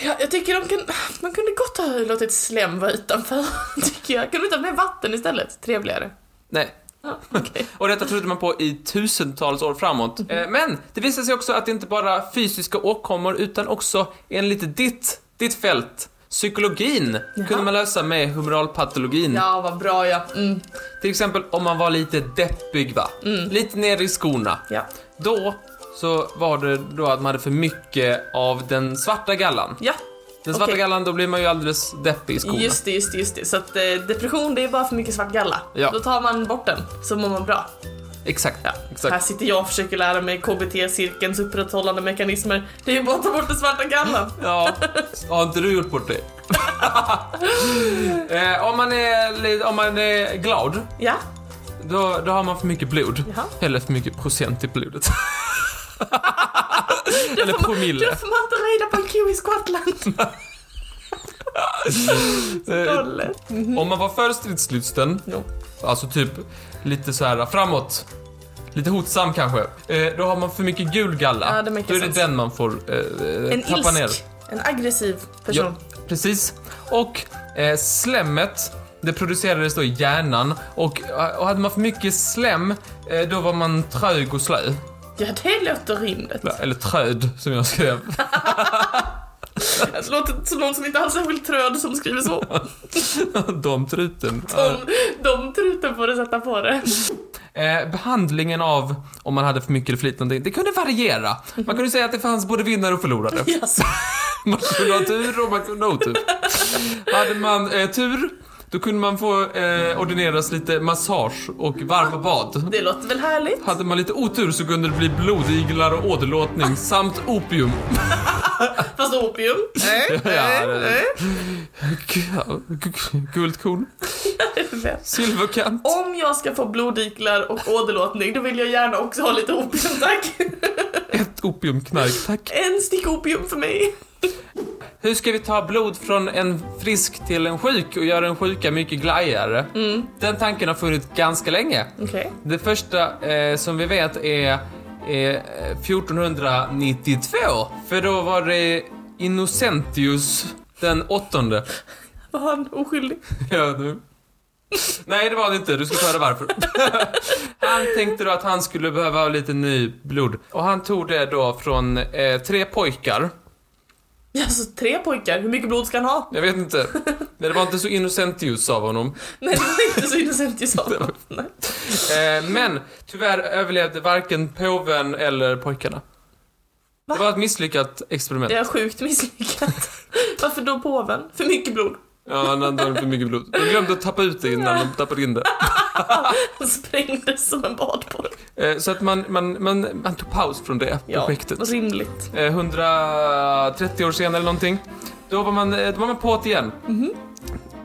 [SPEAKER 2] Ja, jag tycker de kan, man kunde gott ha låtit slem vara utanför, tycker jag. Kunde du inte ha med vatten istället? Trevligare.
[SPEAKER 1] Nej.
[SPEAKER 2] Ja, okej.
[SPEAKER 1] Och detta trodde man på i tusentals år framåt.
[SPEAKER 2] Mhm.
[SPEAKER 1] Eh, Men det visar sig också att det inte bara fysiska åkommor utan också enligt ditt, ditt fält, psykologin,
[SPEAKER 2] Jaha.
[SPEAKER 1] kunde man lösa med humoralpatologin.
[SPEAKER 2] Ja, vad bra ja. Mm.
[SPEAKER 1] Till exempel om man var lite deppig va? Lite nere i skorna.
[SPEAKER 2] Ja.
[SPEAKER 1] Då så var det då att man hade för mycket av den svarta gallan.
[SPEAKER 2] Ja,
[SPEAKER 1] Den svarta
[SPEAKER 2] Okej.
[SPEAKER 1] gallan, då blir man ju alldeles deppig i skorna.
[SPEAKER 2] just det, just det, just det. Så att eh, depression, det är bara för mycket svart galla.
[SPEAKER 1] Ja.
[SPEAKER 2] Då tar man bort den, så mår man bra.
[SPEAKER 1] Exakt.
[SPEAKER 2] Här
[SPEAKER 1] exakt.
[SPEAKER 2] sitter jag och försöker lära mig KBT-cirkelns upprätthållande mekanismer. Det är ju bara att ta bort den svarta gallan.
[SPEAKER 1] Ja, har inte du gjort bort dig? eh, om, man är, li- om man är glad,
[SPEAKER 2] Ja,
[SPEAKER 1] då, då har man för mycket blod.
[SPEAKER 2] Jaha.
[SPEAKER 1] Eller för mycket procent i blodet.
[SPEAKER 2] då
[SPEAKER 1] Eller
[SPEAKER 2] får, man,
[SPEAKER 1] promille.
[SPEAKER 2] då får man inte reda på en ko i Skottland.
[SPEAKER 1] Eh,
[SPEAKER 2] Rolle.
[SPEAKER 1] om man var för stridslysten,
[SPEAKER 2] Jo.
[SPEAKER 1] Alltså typ lite så här framåt. Lite hotsam kanske. Eh, då har man för mycket gul galla.
[SPEAKER 2] Ja, det märker
[SPEAKER 1] då är det
[SPEAKER 2] sens.
[SPEAKER 1] den man får eh,
[SPEAKER 2] En
[SPEAKER 1] tappa
[SPEAKER 2] ilsk,
[SPEAKER 1] ner.
[SPEAKER 2] en aggressiv person.
[SPEAKER 1] precis. Och eh, slemmet, det producerades då i hjärnan. Och, eh, och hade man för mycket slem, eh, då var man trög och slö.
[SPEAKER 2] Ja, det låter rimligt.
[SPEAKER 1] Eller tröd, som jag skrev.
[SPEAKER 2] Det låter som någon som inte alls är särskilt tröd som skriver så.
[SPEAKER 1] Domtruten.
[SPEAKER 2] De, de truten får du sätta på det.
[SPEAKER 1] Eh, behandlingen av om man hade för mycket eller för lite någonting, det kunde variera. Man kunde säga att det fanns både vinnare och förlorare.
[SPEAKER 2] Yes.
[SPEAKER 1] Man kunde ha tur och man kunde ha otur. Hade man eh, tur, då kunde man få eh, ordineras lite massage och varma bad.
[SPEAKER 2] Det låter väl härligt?
[SPEAKER 1] Hade man lite otur så kunde det bli blodiglar och åderlåtning samt opium.
[SPEAKER 2] Fast opium? Nej,
[SPEAKER 1] Ja,
[SPEAKER 2] nej,
[SPEAKER 1] det-
[SPEAKER 2] nej.
[SPEAKER 1] Guldkorn,
[SPEAKER 2] Det är fett.
[SPEAKER 1] silverkant.
[SPEAKER 2] Om jag ska få bloddiklar och åderlåtning då vill jag gärna också ha lite opium, tack.
[SPEAKER 1] Ett opiumknark, tack.
[SPEAKER 2] En stick opium för mig.
[SPEAKER 1] Hur ska vi ta blod från en frisk till en sjuk och göra den sjuka mycket glajigare? Den tanken har funnits ganska länge.
[SPEAKER 2] Okej.
[SPEAKER 1] Det första eh, som vi vet är, är 1492. För då var det Innocentius den åttonde.
[SPEAKER 2] Var han oskyldig?
[SPEAKER 1] Ja, nu. Nej, det var det inte. Du ska få höra varför. Han tänkte då att han skulle behöva ha lite ny blod. Och han tog det då från eh, tre pojkar.
[SPEAKER 2] Ja, så tre pojkar, hur mycket blod ska han ha?
[SPEAKER 1] Jag vet inte. Men det var inte så Innocentius av honom.
[SPEAKER 2] Nej, det var inte så innocent jag sa. Nej.
[SPEAKER 1] Eh, men tyvärr överlevde varken påven eller pojkarna.
[SPEAKER 2] Va?
[SPEAKER 1] Det var ett misslyckat experiment.
[SPEAKER 2] Det är sjukt misslyckat. Varför då påven? För mycket blod.
[SPEAKER 1] Ja, han hade för mycket blod. De glömde att tappa ut det innan de tappade in det.
[SPEAKER 2] Han sprängdes som en badboll.
[SPEAKER 1] Eh, Så att man, man, man, man tog paus från det projektet.
[SPEAKER 2] rimligt.
[SPEAKER 1] Eh, 130 år senare eller någonting. Då var man, eh, då var man på det igen.
[SPEAKER 2] Mhm.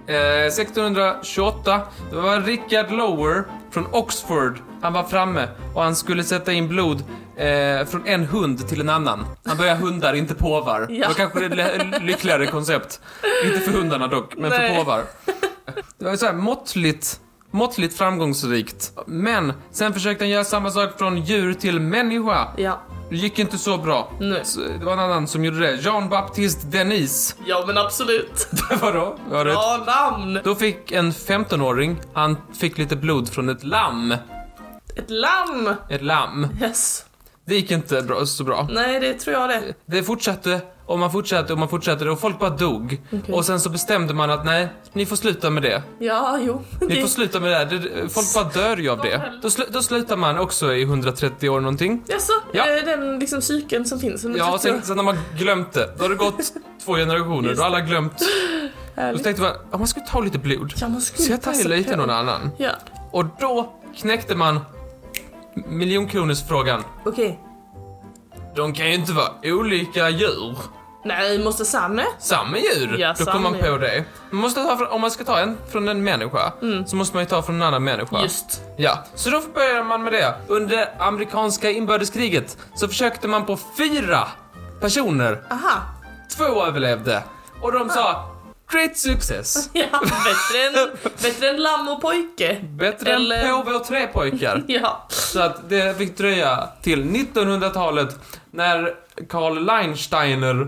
[SPEAKER 1] Eh, 1628, då var Richard Lower från Oxford. Han var framme och han skulle sätta in blod eh, från en hund till en annan. Han började hundar, inte påvar.
[SPEAKER 2] Ja.
[SPEAKER 1] Det var kanske ett le- lyckligare koncept. Inte för hundarna dock, men
[SPEAKER 2] Nej.
[SPEAKER 1] för påvar. Det var så här måttligt, måttligt framgångsrikt. Men sen försökte han göra samma sak från djur till människa.
[SPEAKER 2] Ja.
[SPEAKER 1] Det gick inte så bra.
[SPEAKER 2] Nej.
[SPEAKER 1] Så Det var en annan som gjorde det. Jean-Baptiste Denis.
[SPEAKER 2] Ja men absolut.
[SPEAKER 1] Vadå? Ja, det.
[SPEAKER 2] Bra namn!
[SPEAKER 1] Då fick en 15-åring, han fick lite blod från ett lamm.
[SPEAKER 2] Ett lamm!
[SPEAKER 1] Ett lamm.
[SPEAKER 2] Yes.
[SPEAKER 1] Det gick inte bra, så bra.
[SPEAKER 2] Nej, det tror jag det.
[SPEAKER 1] Det fortsatte och man fortsatte och man fortsatte och folk bara dog. Och sen så bestämde man att nej, ni får sluta med det.
[SPEAKER 2] Ja, jo.
[SPEAKER 1] Ni
[SPEAKER 2] Det-
[SPEAKER 1] får sluta med det här. Det- Folk bara dör ju av det. Då, slu- då slutar man också i 130 år någonting.
[SPEAKER 2] Jaså?
[SPEAKER 1] Ja.
[SPEAKER 2] Eh, Den liksom cykeln som finns. under
[SPEAKER 1] Ja, och
[SPEAKER 2] 30 år.
[SPEAKER 1] sen, sen har man glömt det. Då har det gått två generationer, då har alla glömt. Då
[SPEAKER 2] Härligt.
[SPEAKER 1] tänkte man, om man skulle ta lite blod.
[SPEAKER 2] Ja, man skulle
[SPEAKER 1] Så jag tar ju
[SPEAKER 2] passa
[SPEAKER 1] lite
[SPEAKER 2] på.
[SPEAKER 1] någon annan.
[SPEAKER 2] Ja,
[SPEAKER 1] Och då knäckte man miljonkronorsfrågan.
[SPEAKER 2] okej.
[SPEAKER 1] De kan ju inte vara olika djur.
[SPEAKER 2] Nej, måste samme.
[SPEAKER 1] Samma djur.
[SPEAKER 2] Ja,
[SPEAKER 1] då kom
[SPEAKER 2] samma
[SPEAKER 1] man på
[SPEAKER 2] djur.
[SPEAKER 1] det. Man måste ta, från- om man ska ta en från en människa så måste man ju ta från en annan människa.
[SPEAKER 2] Mm. Just.
[SPEAKER 1] Ja, så då började man med det. Under amerikanska inbördeskriget så försökte man på fyra personer.
[SPEAKER 2] Aha.
[SPEAKER 1] Två överlevde. Och de sa great success.
[SPEAKER 2] Ja, bättre än, bättre än lamm och pojke.
[SPEAKER 1] Bättre
[SPEAKER 2] Eller-
[SPEAKER 1] än påve och tre pojkar.
[SPEAKER 2] Ja.
[SPEAKER 1] Så att det fick dröja till 1900-talet när Karl Leinsteiner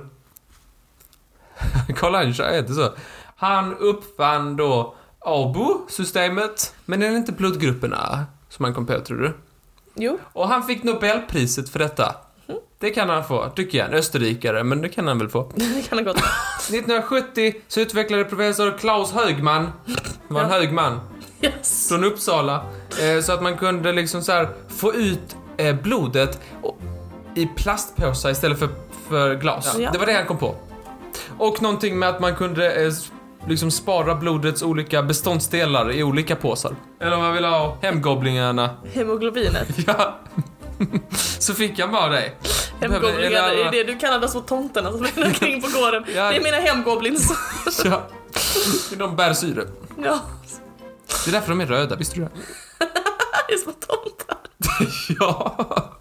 [SPEAKER 1] Karl Einstein heter så. Han uppfann då ABO-systemet. Men är det inte blodgrupperna som han kom på, tror du?
[SPEAKER 2] Jo.
[SPEAKER 1] Och han fick Nobelpriset för detta. Det kan han få, tycker jag. En österrikare, men det kan han väl få.
[SPEAKER 2] Det kan ha gått.
[SPEAKER 1] 1970 så utvecklade professor Klaus Högman, det var en
[SPEAKER 2] Ja.
[SPEAKER 1] hög man,
[SPEAKER 2] Yes.
[SPEAKER 1] från Uppsala, eh, så att man kunde liksom så här få ut eh, blodet och- i plastpåsar istället för, för glas.
[SPEAKER 2] Ja.
[SPEAKER 1] Det var det han kom på. Och någonting med att man kunde eh, s- liksom spara blodets olika beståndsdelar i olika påsar. Eller om man vill ha hemgoblingarna.
[SPEAKER 2] Hemoglobinet.
[SPEAKER 1] Ja. så fick han bara det.
[SPEAKER 2] Hemgoblingar,
[SPEAKER 1] Eller-
[SPEAKER 2] det är det du kallar de små tomtarna som är omkring på gården.
[SPEAKER 1] Ja.
[SPEAKER 2] Det är mina hemgoblins.
[SPEAKER 1] Ja. De bär syre.
[SPEAKER 2] Ja,
[SPEAKER 1] Det är därför de är röda, visste du det?
[SPEAKER 2] det är små tomtar.
[SPEAKER 1] Ja.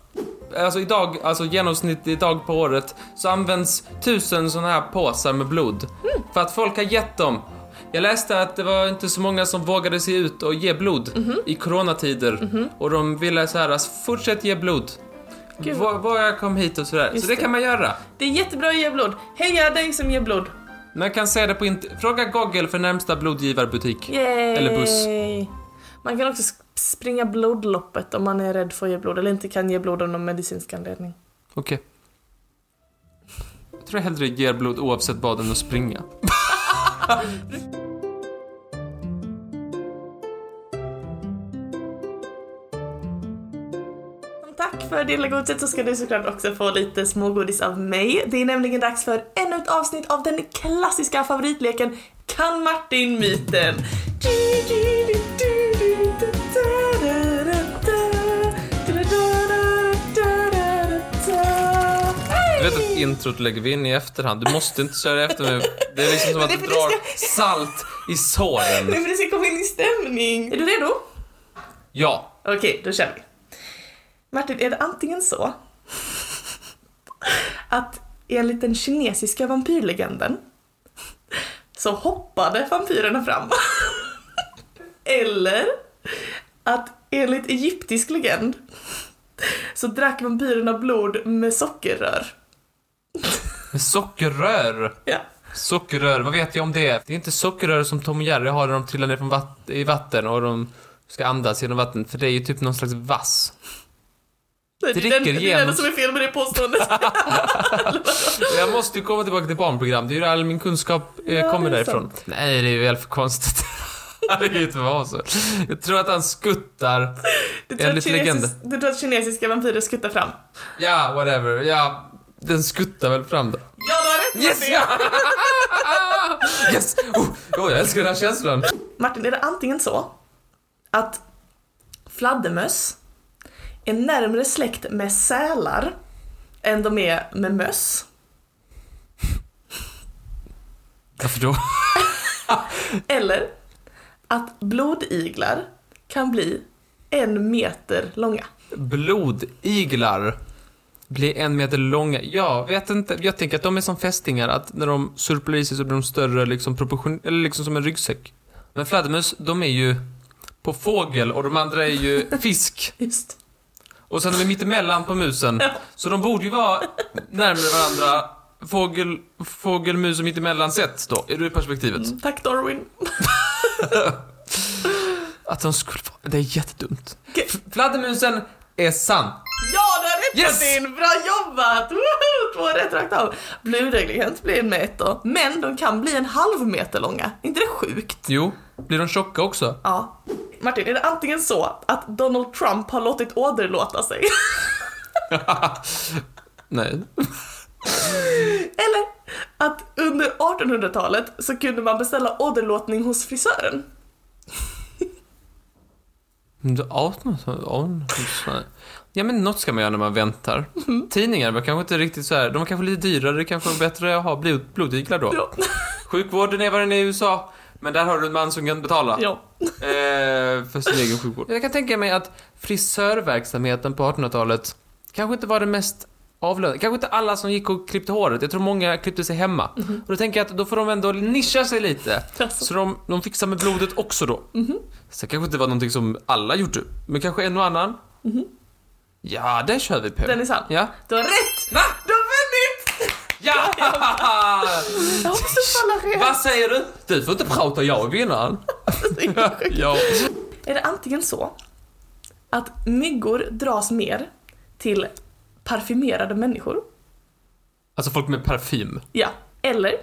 [SPEAKER 1] Alltså idag, alltså genomsnittlig dag på året, så används tusen sådana här påsar med blod.
[SPEAKER 2] Mm.
[SPEAKER 1] För att folk har gett dem. Jag läste att det var inte så många som vågade sig ut och ge blod
[SPEAKER 2] Mhm.
[SPEAKER 1] i coronatider. Och de ville så här, alltså, fortsätt ge blod.
[SPEAKER 2] Gud.
[SPEAKER 1] Var, var jag kom hit och sådär.
[SPEAKER 2] Just
[SPEAKER 1] så det,
[SPEAKER 2] det.
[SPEAKER 1] kan man göra.
[SPEAKER 2] Det är jättebra att ge blod. Heja dig som ger blod.
[SPEAKER 1] Man kan se det på int- Fråga Google för närmsta blodgivarbutik.
[SPEAKER 2] Yay.
[SPEAKER 1] Eller buss.
[SPEAKER 2] Man kan också sp- springa blodloppet om man är rädd för att ge blod eller inte kan ge blod av någon medicinsk anledning.
[SPEAKER 1] Okej. Jag tror jag hellre ger blod oavsett vad än att springa.
[SPEAKER 2] Som Tack för det lilla godiset så ska du såklart också få lite smågodis av mig. Det är nämligen dags för ännu ett avsnitt av den klassiska favoritleken Kan Martin-myten.
[SPEAKER 1] Du vet att introt lägger vi in i efterhand. Du måste inte köra efter mig. Det är liksom som att
[SPEAKER 2] Men det
[SPEAKER 1] du
[SPEAKER 2] är för
[SPEAKER 1] drar
[SPEAKER 2] det ska-
[SPEAKER 1] salt i såren.
[SPEAKER 2] Nu för det ska komma in i stämning. Är du redo?
[SPEAKER 1] Ja.
[SPEAKER 2] Okej, då kör vi. Martin, är det antingen så att enligt den kinesiska vampyrlegenden så hoppade vampyrerna fram. Eller att enligt egyptisk legend så drack vampyrerna blod med sockerrör.
[SPEAKER 1] Men sockerrör.
[SPEAKER 2] Ja.
[SPEAKER 1] Sockerrör, vad vet jag om det? Det är inte sockerrör som Tom och Jerry har när de trillar ner från vatt- i vatten och de ska andas genom vatten. För det är ju typ någon slags vass.
[SPEAKER 2] Det är den-
[SPEAKER 1] Dricker
[SPEAKER 2] det är det
[SPEAKER 1] genom-
[SPEAKER 2] enda som är fel med det påståendet.
[SPEAKER 1] Jag måste ju komma tillbaka till barnprogram. Det är ju där all min kunskap eh,
[SPEAKER 2] Ja,
[SPEAKER 1] kommer
[SPEAKER 2] det är
[SPEAKER 1] därifrån. Nej, det är ju väl för konstigt. det kan ju inte vara så. Jag tror att han skuttar.
[SPEAKER 2] Du tror, att
[SPEAKER 1] Enligt legenden.
[SPEAKER 2] kinesis, du tror att kinesiska vampyrer skuttar fram?
[SPEAKER 1] Ja, whatever. Ja, den skuttar väl fram då.
[SPEAKER 2] Ja, du har rätt
[SPEAKER 1] Yes!
[SPEAKER 2] Martin.
[SPEAKER 1] Ja! yes! Oh, oh, jag älskar den här känslan.
[SPEAKER 2] Martin, är det antingen så att fladdermöss är närmare släkt med sälar än de är med möss?
[SPEAKER 1] Varför då?
[SPEAKER 2] Eller att blodiglar kan bli en meter långa?
[SPEAKER 1] Blodiglar blir en meter långa. Jag vet inte. Jag tänker att de är som fästingar, att när de surplar i sig så blir de större, liksom proportion... Eller liksom som en ryggsäck. Men fladdermöss, de är ju på fågel och de andra är ju fisk.
[SPEAKER 2] Just.
[SPEAKER 1] Och sen är vi mittemellan på musen. Så de borde ju vara närmare varandra. Fågel, fågel, mus och mittemellan sett då, är det perspektivet?
[SPEAKER 2] Mm, Tack Darwin.
[SPEAKER 1] Att de skulle vara... Det är jättedumt.
[SPEAKER 2] Okej.
[SPEAKER 1] F- Fladdermusen är sann.
[SPEAKER 2] Ja, du har rätt
[SPEAKER 1] Yes!
[SPEAKER 2] Martin! Bra jobbat! Woho! Två rätt rakt av. Blodreglerant blir en meter, men de kan bli en halv meter långa. Är inte det sjukt?
[SPEAKER 1] Jo, blir de tjocka också?
[SPEAKER 2] Ja. Martin, är det antingen så att Donald Trump har låtit åderlåta sig?
[SPEAKER 1] Nej.
[SPEAKER 2] Eller att under 1800-talet så kunde man beställa åderlåtning hos frisören?
[SPEAKER 1] Men det- ja, så- ja, så- nej. Ja men något ska man göra när man väntar. Tidningar var kanske inte riktigt så här. de var kanske lite dyrare, det kanske är bättre att ha blod, blodiglar då.
[SPEAKER 2] Ja.
[SPEAKER 1] Sjukvården är vad den är i USA, men där har du en man som kan betala.
[SPEAKER 2] ja.
[SPEAKER 1] Eh, för sin egen sjukvård. Jag kan tänka mig att frisörverksamheten på 1800-talet kanske inte var det mest avlönade. Kanske inte alla som gick och klippte håret. Jag tror många klippte sig hemma. Och då tänker jag att då får de ändå nischa sig lite.
[SPEAKER 2] Mhm. Alltså, Mhm.
[SPEAKER 1] Så de, de fixar med blodet också då. Så det kanske inte var någonting som alla gjorde, men kanske en och annan. Ja, det kör vi på.
[SPEAKER 2] Mhm. den är sann.
[SPEAKER 1] Ja.
[SPEAKER 2] Du har rätt!
[SPEAKER 1] Va?
[SPEAKER 2] Du har vunnit!
[SPEAKER 1] Ja!
[SPEAKER 2] Jag hoppas du
[SPEAKER 1] Vad säger du? Du får inte prata jag i vinnaren. ja.
[SPEAKER 2] Är det antingen så att myggor dras mer till parfymerade människor?
[SPEAKER 1] Alltså folk med parfym.
[SPEAKER 2] Ja. Eller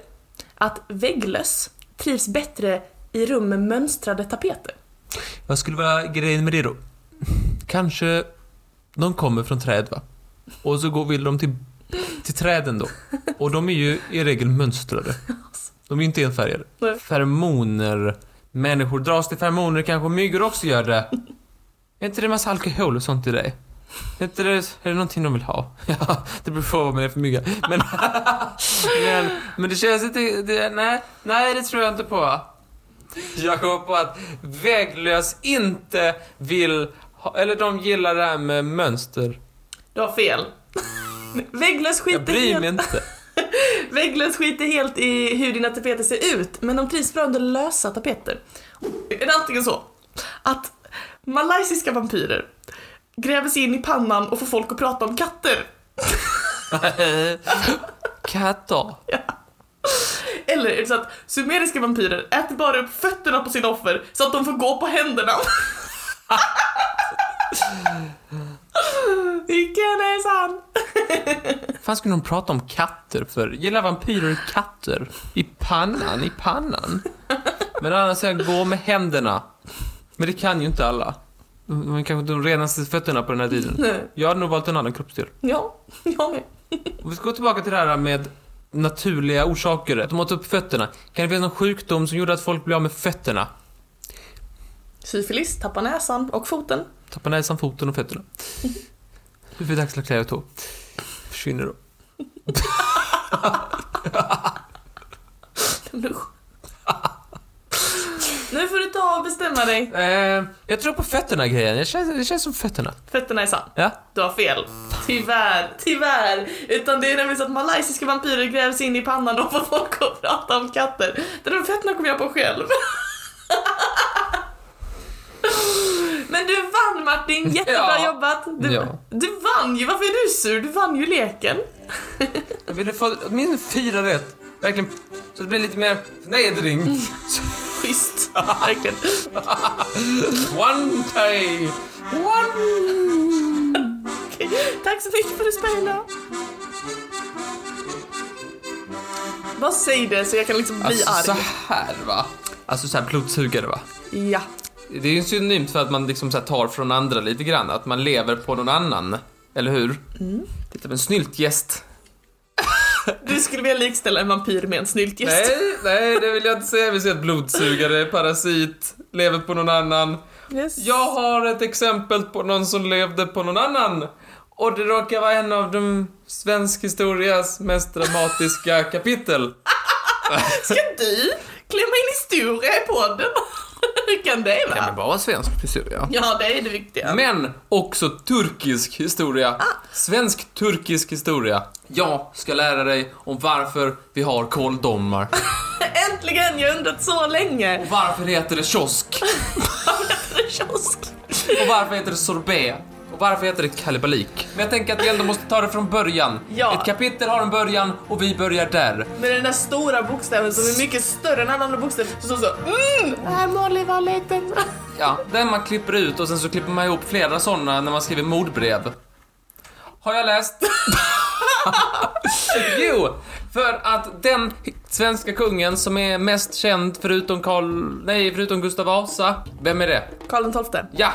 [SPEAKER 2] att vägglöss trivs bättre i rum med mönstrade tapeter?
[SPEAKER 1] Vad skulle vara grejen med det då? Kanske de kommer från träd va? Och så går, vill de till, till träden då. Och de är ju i regel mönstrade. De är ju inte enfärgade.
[SPEAKER 2] Nej.
[SPEAKER 1] Feromoner. Människor dras till feromoner, kanske myggor också gör det. Är inte det en massa alkohol och sånt i dig? Är, inte det, är det någonting de vill ha? Ja, det beror på vad man är för mygga. Men, men, men det känns inte... Det, nej, nej, det tror jag inte på. Jag kommer på att väglös inte vill ha, eller de gillar det här med mönster.
[SPEAKER 2] Du har fel. Vägglöss
[SPEAKER 1] Jag
[SPEAKER 2] skiter,
[SPEAKER 1] bryr mig
[SPEAKER 2] helt,
[SPEAKER 1] inte.
[SPEAKER 2] vägglöss skiter helt i hur dina tapeter ser ut, men de trivs bra under lösa tapeter. Är det antingen så att malaysiska vampyrer gräver sig in i pannan och får folk att prata om katter?
[SPEAKER 1] Katter.
[SPEAKER 2] Eller är det så att sumeriska vampyrer äter bara upp fötterna på sina offer så att de får gå på händerna? Vilken är sann?
[SPEAKER 1] fan skulle de prata om katter för? Gillar vampyrer katter? I pannan, i pannan. Men annars är jag gå med händerna. Men det kan ju inte alla. De de kanske inte de renaste fötterna på den här tiden.
[SPEAKER 2] Nej.
[SPEAKER 1] Jag hade nog valt en annan kroppsdel.
[SPEAKER 2] Ja, jag med.
[SPEAKER 1] Om vi ska gå tillbaka till det här med naturliga orsaker. Att de åt upp fötterna. Kan det finnas någon sjukdom som gjorde att folk blev av med fötterna?
[SPEAKER 2] Syfilis, tappa näsan och foten.
[SPEAKER 1] Tappar näsan, foten och fötterna. Huvud, axlar, knä och tå. Försvinner då.
[SPEAKER 2] Men usch. Nu får du ta och bestämma dig.
[SPEAKER 1] Eh, jag tror på fötterna grejen. Det känns, det känns som fötterna.
[SPEAKER 2] Fötterna är sann.
[SPEAKER 1] Ja.
[SPEAKER 2] Du har fel. Tyvärr, tyvärr. Utan det är nämligen så att malaysiska vampyrer grävs in i pannan och får folk att prata om katter. Det där med fötterna kom jag på själv. Men du vann Martin, jättebra
[SPEAKER 1] Ja.
[SPEAKER 2] jobbat. Du,
[SPEAKER 1] Ja.
[SPEAKER 2] du vann ju, varför är du sur? Du vann ju leken.
[SPEAKER 1] Jag ville få åtminstone fyra rätt. Verkligen. Så det blir lite mer förnedring.
[SPEAKER 2] Schysst, verkligen.
[SPEAKER 1] One day! One!
[SPEAKER 2] Okej, Tack så mycket för att du spelade. Vad säger det så jag kan liksom bli
[SPEAKER 1] Alltså så
[SPEAKER 2] arg?
[SPEAKER 1] här va. Alltså så här blodsugare va.
[SPEAKER 2] Ja.
[SPEAKER 1] Det är ju synonymt för att man liksom så här tar från andra lite grann. Att man lever på någon annan. Eller hur? Mm. Titta på en snyltgäst.
[SPEAKER 2] Du skulle vilja likställa en vampyr med en snyltgäst.
[SPEAKER 1] Nej, nej det vill jag inte säga. Jag vill säga att blodsugare, parasit, lever på någon annan.
[SPEAKER 2] Yes.
[SPEAKER 1] Jag har ett exempel på någon som levde på någon annan. Och det råkar vara en av de svensk historias mest dramatiska kapitel.
[SPEAKER 2] Ska du klämma in historia i podden? Hur kan det vara?
[SPEAKER 1] bara svensk historia.
[SPEAKER 2] Ja, det är det viktiga.
[SPEAKER 1] Men också turkisk historia. Svensk-turkisk historia. Jag ska lära dig om varför vi har koldomar.
[SPEAKER 2] Äntligen! Jag har undrat så länge.
[SPEAKER 1] Varför heter det kiosk?
[SPEAKER 2] Kiosk.
[SPEAKER 1] Och varför heter det sorbet? Och varför heter det kalabalik? Men jag tänker att vi ändå måste ta det från början.
[SPEAKER 2] Ja.
[SPEAKER 1] Ett kapitel har en början och vi börjar där.
[SPEAKER 2] Med den där stora bokstaven som är mycket större än alla andra bokstäver. Så, så, så. Mm! Här Molly var liten.
[SPEAKER 1] Ja, den man klipper ut och sen så klipper man ihop flera sådana när man skriver mordbrev. Har jag läst? jo, för att den svenska kungen som är mest känd förutom Karl... Nej, förutom Gustav Vasa. Vem är det?
[SPEAKER 2] Karl XII.
[SPEAKER 1] Ja!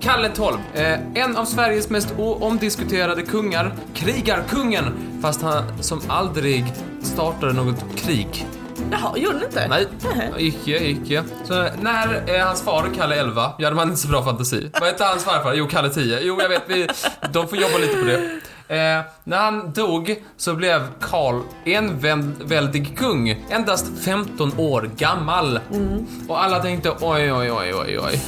[SPEAKER 1] Kalle XII, eh, en av Sveriges mest o- omdiskuterade kungar, krigarkungen, fast han som aldrig startade något krig.
[SPEAKER 2] Jaha, gjorde den inte?
[SPEAKER 1] Nej,
[SPEAKER 2] Nähä.
[SPEAKER 1] icke, icke. Så när eh, hans far, Kalle 11, ja, de hade inte så bra fantasi. Vad hette hans farfar? Jo, Kalle 10. Jo, jag vet, vi, de får jobba lite på det. Eh, när han dog så blev Karl en väl- väldig kung, endast 15 år gammal. Och alla tänkte oj, oj, oj, oj, oj.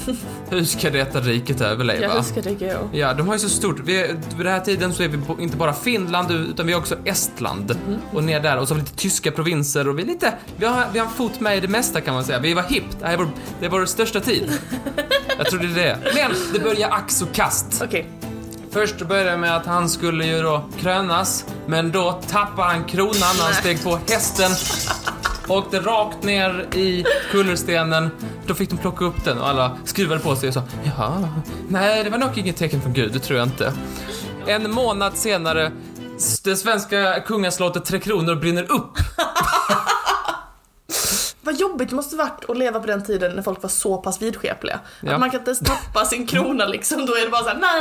[SPEAKER 1] Hur ska detta riket överleva?
[SPEAKER 2] Jag önskar det går.
[SPEAKER 1] Ja, de har ju så stort. Vi, vid den här tiden så är vi bo- inte bara Finland utan vi är också Estland och ner där och så har vi lite tyska provinser och vi är lite, vi har, vi har en fot med i det mesta kan man säga. Vi var hippt, det här är vår, det är vår största tid. Jag tror det är det. Men det börjar ax och kast.
[SPEAKER 2] Okej.
[SPEAKER 1] Först började det med att han skulle ju då krönas, men då tappade han kronan när han steg på hästen åkte rakt ner i kullerstenen. Då fick de plocka upp den och alla skruvade på sig och sa Jaha, nej det var nog inget tecken från Gud, det tror jag inte. En månad senare, s- det svenska kungaslottet Tre Kronor brinner upp.
[SPEAKER 2] Vad jobbigt det måste varit att leva på den tiden när folk var så pass vidskepliga.
[SPEAKER 1] Ja.
[SPEAKER 2] Att man kan inte ens tappa sin krona liksom, då är det bara såhär nej,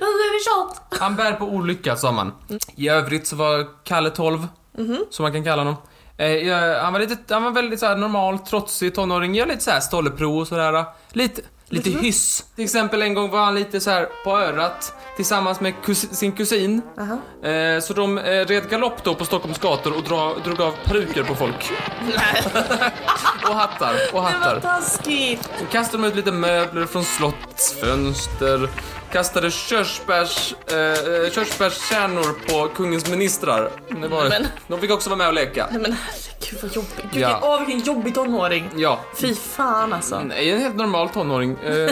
[SPEAKER 2] nu är det tjat.
[SPEAKER 1] Han bär på olycka, sa man.
[SPEAKER 2] Mm.
[SPEAKER 1] I övrigt så var Kalle 12,
[SPEAKER 2] Mhm.
[SPEAKER 1] som man kan kalla honom. Eh, jag, han, var lite, han var väldigt så här normal, trotsig tonåring. Gör lite så här stolleprov och sådär. Lite, lite
[SPEAKER 2] Mhm.
[SPEAKER 1] hyss. Till exempel en gång var han lite så här på örat tillsammans med kus, sin kusin.
[SPEAKER 2] Aha.
[SPEAKER 1] Eh, så de eh, red galopp då på Stockholms gator och dra, drog av peruker på folk.
[SPEAKER 2] Nej,
[SPEAKER 1] Och hattar, och
[SPEAKER 2] det var
[SPEAKER 1] hattar.
[SPEAKER 2] taskigt.
[SPEAKER 1] Kastade de ut lite möbler från slottsfönster. Kastade körsbärs, eh, körsbärskärnor på kungens ministrar. Det var,
[SPEAKER 2] Men-
[SPEAKER 1] De fick också vara med och leka.
[SPEAKER 2] Nej men herregud vad jobbigt. Gud,
[SPEAKER 1] Ja.
[SPEAKER 2] vilken- Åh vilken jobbig tonåring.
[SPEAKER 1] Ja,
[SPEAKER 2] Fy fan alltså.
[SPEAKER 1] nej, en helt normal tonåring. Eh,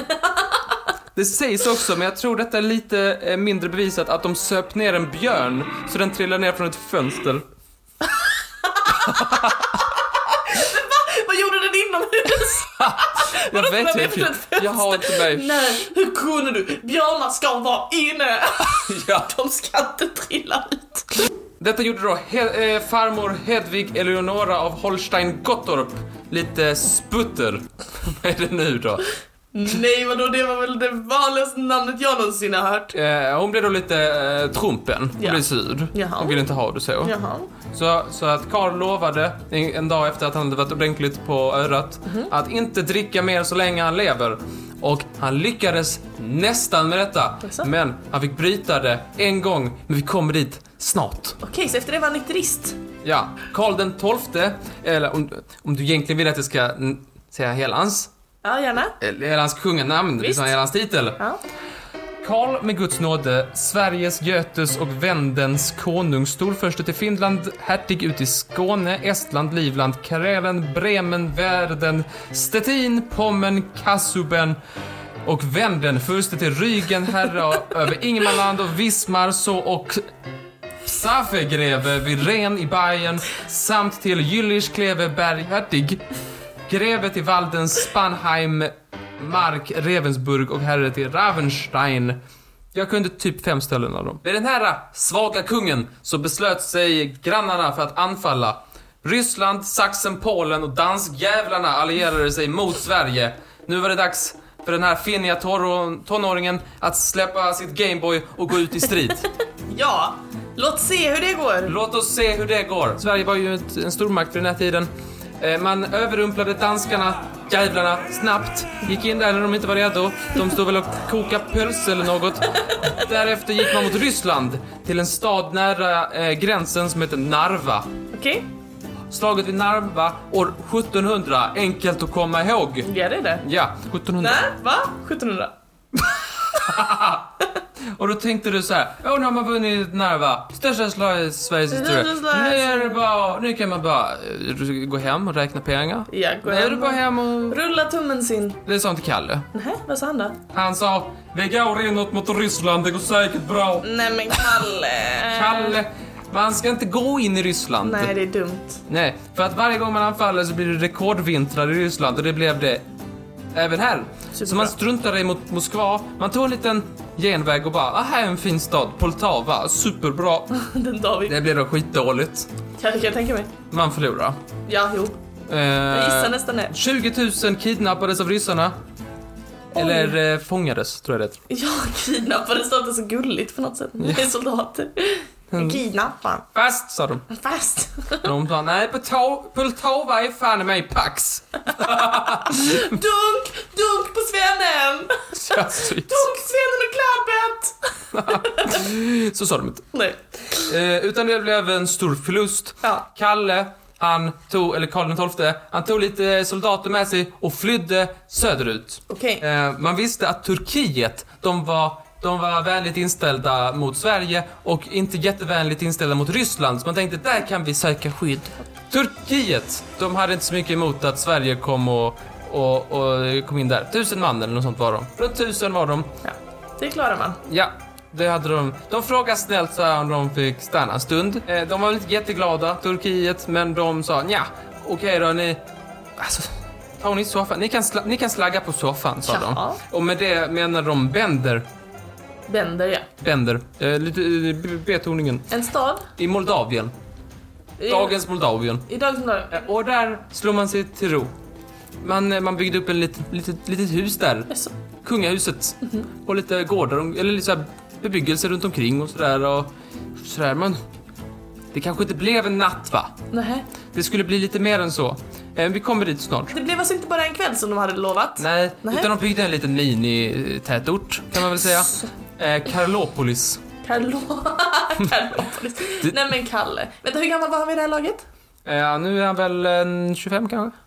[SPEAKER 1] det sägs också, men jag tror detta är lite eh, mindre bevisat, att de söp ner en björn så den trillade ner från ett fönster.
[SPEAKER 2] Vad gjorde den inomhus?
[SPEAKER 1] Jag
[SPEAKER 2] trillade
[SPEAKER 1] vet
[SPEAKER 2] ner
[SPEAKER 1] ju
[SPEAKER 2] från ett fönster?
[SPEAKER 1] Jag har inte mig.
[SPEAKER 2] Nej, hur kunde du? Björnar ska vara inne.
[SPEAKER 1] Ja.
[SPEAKER 2] De ska inte trilla ut.
[SPEAKER 1] Detta gjorde då he- eh, farmor Hedvig Eleonora av Holstein-Gottorp lite sputter. Vad är det nu då?
[SPEAKER 2] Nej vadå, det var väl det vanligaste namnet jag någonsin har hört.
[SPEAKER 1] Eh, hon blev då lite eh, trumpen. Hon
[SPEAKER 2] Ja.
[SPEAKER 1] blev sur.
[SPEAKER 2] Jaha.
[SPEAKER 1] Hon ville inte ha det så.
[SPEAKER 2] Jaha.
[SPEAKER 1] Så, så att Karl lovade en, en dag efter att han hade varit ordentligt på örat
[SPEAKER 2] Mhm.
[SPEAKER 1] att inte dricka mer så länge han lever. Och han lyckades nästan med detta.
[SPEAKER 2] Jaså?
[SPEAKER 1] Men han fick bryta det en gång. Men vi kommer dit snart.
[SPEAKER 2] Okej, så efter det var han nykterist.
[SPEAKER 1] Ja, Karl den tolfte, eller om, om du egentligen vill att jag ska mm, säga hela hans,
[SPEAKER 2] Ja, gärna.
[SPEAKER 1] eller hela hans kunganamn,
[SPEAKER 2] Visst.
[SPEAKER 1] liksom hela hans titel.
[SPEAKER 2] Ja.
[SPEAKER 1] Karl med Guds nåde, Sveriges, Götes och Vendens konung, storförste till Finland, hertig ut i Skåne, Estland, Livland, Karelen, Bremen, Värden, Stettin, Pommern, Kassuben och Venden, furste till Rügen, herre över Ingermanland och Wismar, så och Psaffegreve vid Ren i Bayern samt till Jülich Kleve Berghertig, greve till Walden, Spanheim, Mark, Ravensburg och herre till Ravenstein. Jag kunde typ fem ställen av dem. Vid den här svaga kungen så beslöt sig grannarna för att anfalla. Ryssland, Sachsen, Polen och danskjävlarna allierade sig mot Sverige. Nu var det dags för den här finniga torro- tonåringen att släppa sitt Gameboy och gå ut i strid.
[SPEAKER 2] Ja, låt se hur det går.
[SPEAKER 1] Låt oss se hur det går. Sverige var ju ett, en stormakt vid den här tiden. Eh, Man överrumplade danskarna, jävlarna, snabbt. Gick in där när de inte var redo. De stod väl och kokade pölse eller något. Därefter gick man mot Ryssland, till en stad nära eh, gränsen som heter Narva.
[SPEAKER 2] Okej,
[SPEAKER 1] Slaget vid Narva år 1700, enkelt att komma ihåg.
[SPEAKER 2] ja det är det.
[SPEAKER 1] Ja, 1700.
[SPEAKER 2] Nej, va? 1700?
[SPEAKER 1] Och då tänkte du så här, åh nu har man vunnit Narva, största slaget i Sveriges historia.
[SPEAKER 2] Största
[SPEAKER 1] Nu
[SPEAKER 2] slaget.
[SPEAKER 1] är det bara, nu kan man bara eh, gå hem och räkna pengar.
[SPEAKER 2] Ja, gå
[SPEAKER 1] Nu är
[SPEAKER 2] hem
[SPEAKER 1] det bara
[SPEAKER 2] och-
[SPEAKER 1] hem och...
[SPEAKER 2] Rulla tummen sin.
[SPEAKER 1] Det sa inte Kalle.
[SPEAKER 2] Nej, vad sa han då?
[SPEAKER 1] Han sa, vi går inåt mot Ryssland, det går säkert bra.
[SPEAKER 2] Nej men Kalle.
[SPEAKER 1] Kalle, man ska inte gå in i Ryssland.
[SPEAKER 2] Nej, det är dumt.
[SPEAKER 1] Nej, för att varje gång man anfaller så blir det rekordvintrar i Ryssland och det blev det även här. Så man struntade i mot Moskva, man tog en liten genväg och bara, ah här är en fin stad, Poltava, superbra.
[SPEAKER 2] Den David.
[SPEAKER 1] Det blev då skitdåligt.
[SPEAKER 2] Kan, kan jag tänka mig?
[SPEAKER 1] Man förlorar.
[SPEAKER 2] Ja, jo.
[SPEAKER 1] Eh,
[SPEAKER 2] Jag gissar nästan det.
[SPEAKER 1] 20 000 kidnappades av ryssarna. Eller eh, fångades, tror jag det heter.
[SPEAKER 2] Jag kidnappades, det är inte så gulligt på något sätt. Det är soldater.
[SPEAKER 1] Mm.
[SPEAKER 2] Jag kidnappar.
[SPEAKER 1] Fast, sa de.
[SPEAKER 2] Fast.
[SPEAKER 1] De sa nej, Polta- Poltava är fan i mig Pax.
[SPEAKER 2] Dunk! Dunk på svennen!
[SPEAKER 1] Så jag syns.
[SPEAKER 2] Dunk svennen och klabbet!
[SPEAKER 1] Så sa de inte.
[SPEAKER 2] Nej.
[SPEAKER 1] Eh, utan det blev en stor förlust.
[SPEAKER 2] Ja.
[SPEAKER 1] Kalle, han tog, eller Karl XII, han tog lite soldater med sig och flydde söderut.
[SPEAKER 2] Okej.
[SPEAKER 1] Eh, man visste att Turkiet, de var, de var vänligt inställda mot Sverige och inte jättevänligt inställda mot Ryssland. Så man tänkte, där kan vi söka skydd. Turkiet, de hade inte så mycket emot att Sverige kom och, och, och kom in där. Tusen man eller något sånt var de. Runt tusen var de.
[SPEAKER 2] Ja. Det klarar man.
[SPEAKER 1] Ja, det hade de. De frågade snällt så här om de fick stanna en stund. Eh, De var väl inte jätteglada, Turkiet, men de sa nja, okej då, ni... Alltså, tar ni soffan? Ni kan, sla, ni kan slagga på soffan, sa
[SPEAKER 2] Jaha.
[SPEAKER 1] de. Och med det menar de bänder.
[SPEAKER 2] Bender ja.
[SPEAKER 1] Bänder. Eh, lite eh, b- betoningen.
[SPEAKER 2] En stad.
[SPEAKER 1] I Moldavien.
[SPEAKER 2] I-
[SPEAKER 1] Dagens Moldavien.
[SPEAKER 2] I dagens dag.
[SPEAKER 1] Eh, Och där slår man sig till ro. Man, eh, man byggde upp ett litet, litet, litet hus där.
[SPEAKER 2] Jaså.
[SPEAKER 1] Kungahuset. Och lite gårdar, om- eller lite så här bebyggelse runt omkring och sådär. Och sådär. Men det kanske inte blev en natt va?
[SPEAKER 2] Nähä.
[SPEAKER 1] Det skulle bli lite mer än så. Eh, vi kommer dit snart.
[SPEAKER 2] Det blev alltså inte bara en kväll som de hade lovat?
[SPEAKER 1] Nej,
[SPEAKER 2] Nej.
[SPEAKER 1] utan de byggde en liten minitätort kan man väl säga. Eh, Karlopolis.
[SPEAKER 2] Karlo... Karlopolis. Nej men Kalle. Vänta, hur gammal var han vid det här laget?
[SPEAKER 1] Eh, nu är han väl en 25 kanske?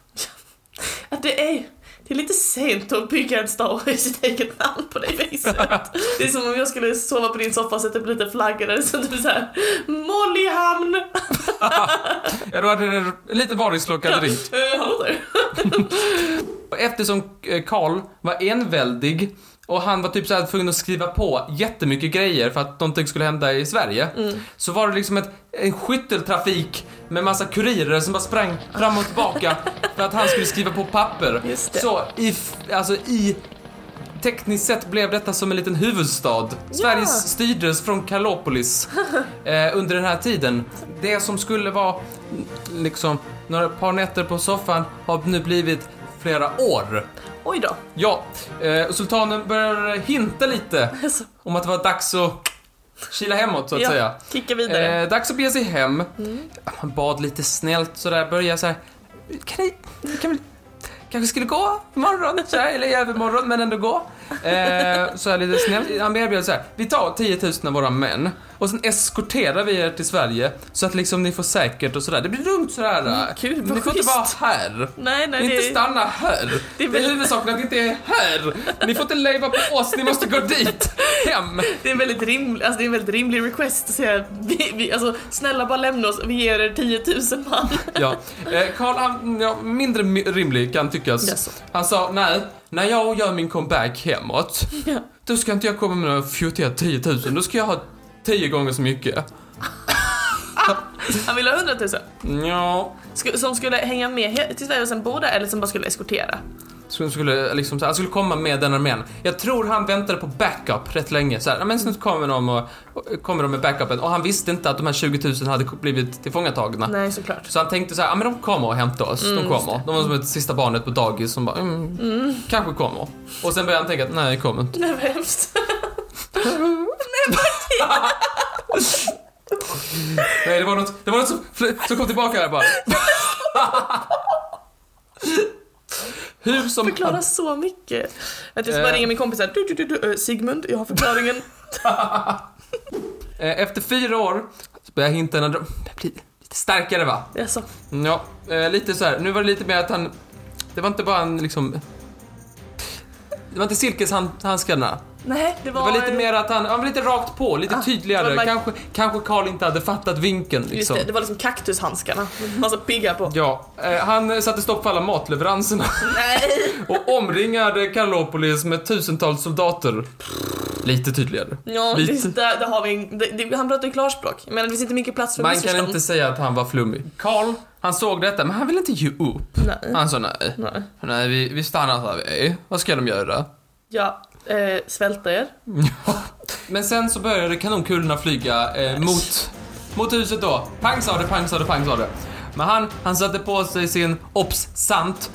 [SPEAKER 2] Att det är... Det är lite sent att bygga en stad i sitt eget namn på det viset. Det är som om jag skulle sova på din soffa och sätta upp lite flaggor där det står typ såhär Mollyhamn!
[SPEAKER 1] Ja, då hade det lite varningsklocka ringt.
[SPEAKER 2] Eh, Hallå där.
[SPEAKER 1] Och Eftersom eh, Karl var enväldig och han var typ så här tvungen att skriva på jättemycket grejer för att någonting skulle hända i Sverige.
[SPEAKER 2] Mm.
[SPEAKER 1] Så var det liksom ett, en skytteltrafik med massa kurirer som bara sprang fram och tillbaka för att han skulle skriva på papper.
[SPEAKER 2] Just det.
[SPEAKER 1] Så i, f- alltså i Tekniskt sett blev detta som en liten huvudstad. Sverige styrdes från Kallopolis eh, under den här tiden. Det som skulle vara mm, liksom några par nätter på soffan har nu blivit flera år.
[SPEAKER 2] Oj då.
[SPEAKER 1] Ja, eh, och sultanen börjar hinta lite
[SPEAKER 2] Alltså,
[SPEAKER 1] om att det var dags att kila hemåt så att
[SPEAKER 2] ja,
[SPEAKER 1] säga.
[SPEAKER 2] Kicka vidare.
[SPEAKER 1] Eh, dags att bege sig hem.
[SPEAKER 2] Mm.
[SPEAKER 1] Han bad lite snällt sådär, börja såhär. Kan ni, kan vi, kanske skulle gå imorgon, sådär, eller i övermorgon, men ändå gå. Eh, såhär lite snällt. Han erbjöd såhär, vi tar 10 000 av våra män och sen eskorterar vi er till Sverige så att liksom ni får säkert och sådär. Det blir lugnt sådär.
[SPEAKER 2] gud, vad
[SPEAKER 1] ni får inte vara
[SPEAKER 2] schysst.
[SPEAKER 1] här.
[SPEAKER 2] nej, nej,
[SPEAKER 1] Inte
[SPEAKER 2] det,
[SPEAKER 1] stanna här! Det
[SPEAKER 2] det
[SPEAKER 1] är,
[SPEAKER 2] är
[SPEAKER 1] det
[SPEAKER 2] väl-
[SPEAKER 1] huvudsaken att ni inte är här! Ni får inte leva på oss, ni måste gå dit! Hem!
[SPEAKER 2] det, är en väldigt rimlig, alltså, det är en väldigt rimlig request att säga vi, vi, alltså, snälla bara lämna oss, vi ger er 10 000 man.
[SPEAKER 1] Ja. Eh, Karl, han, ja, mindre mi- rimlig kan tyckas.
[SPEAKER 2] Jaså.
[SPEAKER 1] Han sa, nej, när jag gör min comeback hemåt,
[SPEAKER 2] Ja.
[SPEAKER 1] då ska inte jag komma med några fjuttiga 10 000, då ska jag ha 10 gånger så mycket.
[SPEAKER 2] Han ville ha 100 000.
[SPEAKER 1] Ja.
[SPEAKER 2] Sk- som skulle hänga med he- till Sverige och sen bo där eller som bara skulle eskortera?
[SPEAKER 1] Så han skulle, liksom, så här, han skulle komma med den armén. Jag tror han väntade på backup rätt länge. Så här, "Ja, men sen kommer de, och, och, kommer de med backupen och han visste inte att de här 20 000 hade blivit tillfångatagna.
[SPEAKER 2] Nej såklart.
[SPEAKER 1] Så han tänkte så här, ja men de kommer och hämtar oss. de kommer. De var som ett sista barnet på dagis som bara, mm, kanske kommer. Och sen började han tänka, nej det kommer inte.
[SPEAKER 2] Nej vad hemskt.
[SPEAKER 1] Nej det var något, det var något som, fl- som kom tillbaka här bara. Hur som...
[SPEAKER 2] Förklara så mycket. Att jag ska
[SPEAKER 1] Eh.
[SPEAKER 2] bara ringa min kompis här. Du, du, du, du, eh, Sigmund, jag har förklaringen.
[SPEAKER 1] Eh, Efter fyra år så började hintarna dra- bli lite starkare va?
[SPEAKER 2] Jaså?
[SPEAKER 1] Ja, eh, lite så här. Nu var det lite mer att han... Det var inte bara en liksom... Det var inte silkeshandskarna.
[SPEAKER 2] Nej, det
[SPEAKER 1] Det
[SPEAKER 2] var...
[SPEAKER 1] var lite mer att han, han var lite rakt på, lite
[SPEAKER 2] det
[SPEAKER 1] tydligare.
[SPEAKER 2] var like-
[SPEAKER 1] Kanske, kanske Carl inte hade fattat vinkeln
[SPEAKER 2] Ah, Just
[SPEAKER 1] liksom.
[SPEAKER 2] det, det var liksom kaktushandskarna. Massa piggar på.
[SPEAKER 1] Ja, eh, han satte stopp för alla matleveranserna
[SPEAKER 2] Nej!
[SPEAKER 1] och omringade Karlopolis med tusentals soldater. Lite tydligare.
[SPEAKER 2] Ja,
[SPEAKER 1] Lite.
[SPEAKER 2] det, där, där har vi en, det, det, Han pratar ju klarspråk. Men det finns inte mycket plats för
[SPEAKER 1] Man kan
[SPEAKER 2] missförstånd.
[SPEAKER 1] inte säga att han var flummig. Carl, han såg detta, men han ville inte ge upp.
[SPEAKER 2] Nej.
[SPEAKER 1] Han sa nej.
[SPEAKER 2] Mm. Nej.
[SPEAKER 1] Nej, vi, vi stannar här vi är. Vad ska de göra?
[SPEAKER 2] Ja, eh, svälta er.
[SPEAKER 1] Men sen så började kanonkulorna flyga eh, mot, mot huset då. Pang sa det, pang sa det, pang sa det. Men han, han satte på sig sin, obs, sant,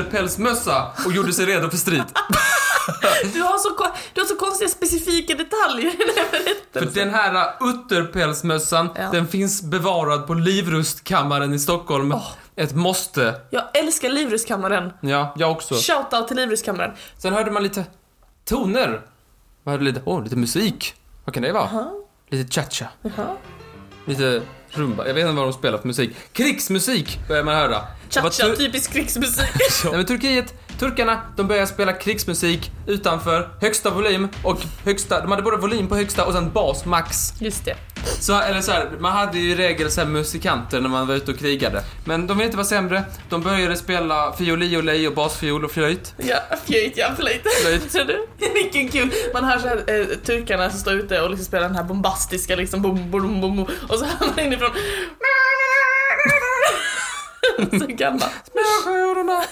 [SPEAKER 1] utterpälsmössa och gjorde sig redo för strid.
[SPEAKER 2] Du har så, ko- du har så konstiga specifika detaljer i den här
[SPEAKER 1] För
[SPEAKER 2] berättelsen.
[SPEAKER 1] den här ä, utterpälsmössan,
[SPEAKER 2] Ja.
[SPEAKER 1] den finns bevarad på Livrustkammaren i Stockholm. Ett måste.
[SPEAKER 2] Jag älskar Livrustkammaren.
[SPEAKER 1] Ja, jag också.
[SPEAKER 2] Shoutout till Livrustkammaren.
[SPEAKER 1] Sen hörde man lite toner. Man hörde lite, åh, lite musik. Vad kan det vara? Lite cha-cha.
[SPEAKER 2] Jaha.
[SPEAKER 1] Lite rumba. Jag vet inte vad de spelar för musik. Krigsmusik börjar man höra. Det var
[SPEAKER 2] Cha-cha,
[SPEAKER 1] tur-
[SPEAKER 2] typisk krigsmusik.
[SPEAKER 1] Nej, men Turkiet, turkarna, de började spela krigsmusik utanför högsta volym och högsta, de hade både volym på högsta och sen bas max.
[SPEAKER 2] Just det.
[SPEAKER 1] Så, eller så här, man hade ju i regel så här musikanter när man var ute och krigade. Men de ville inte vara sämre, de började spela fioli och lej och basfiol och flöjt.
[SPEAKER 2] Ja, flöjt, ja, flöjt.
[SPEAKER 1] Flöjt.
[SPEAKER 2] Tror du? Vilken kul. Man hör såhär eh, turkarna som står ute och liksom spelar den här bombastiska liksom bom, bom, bom, bom, och så hör man inifrån så gammal.
[SPEAKER 1] Grodorna.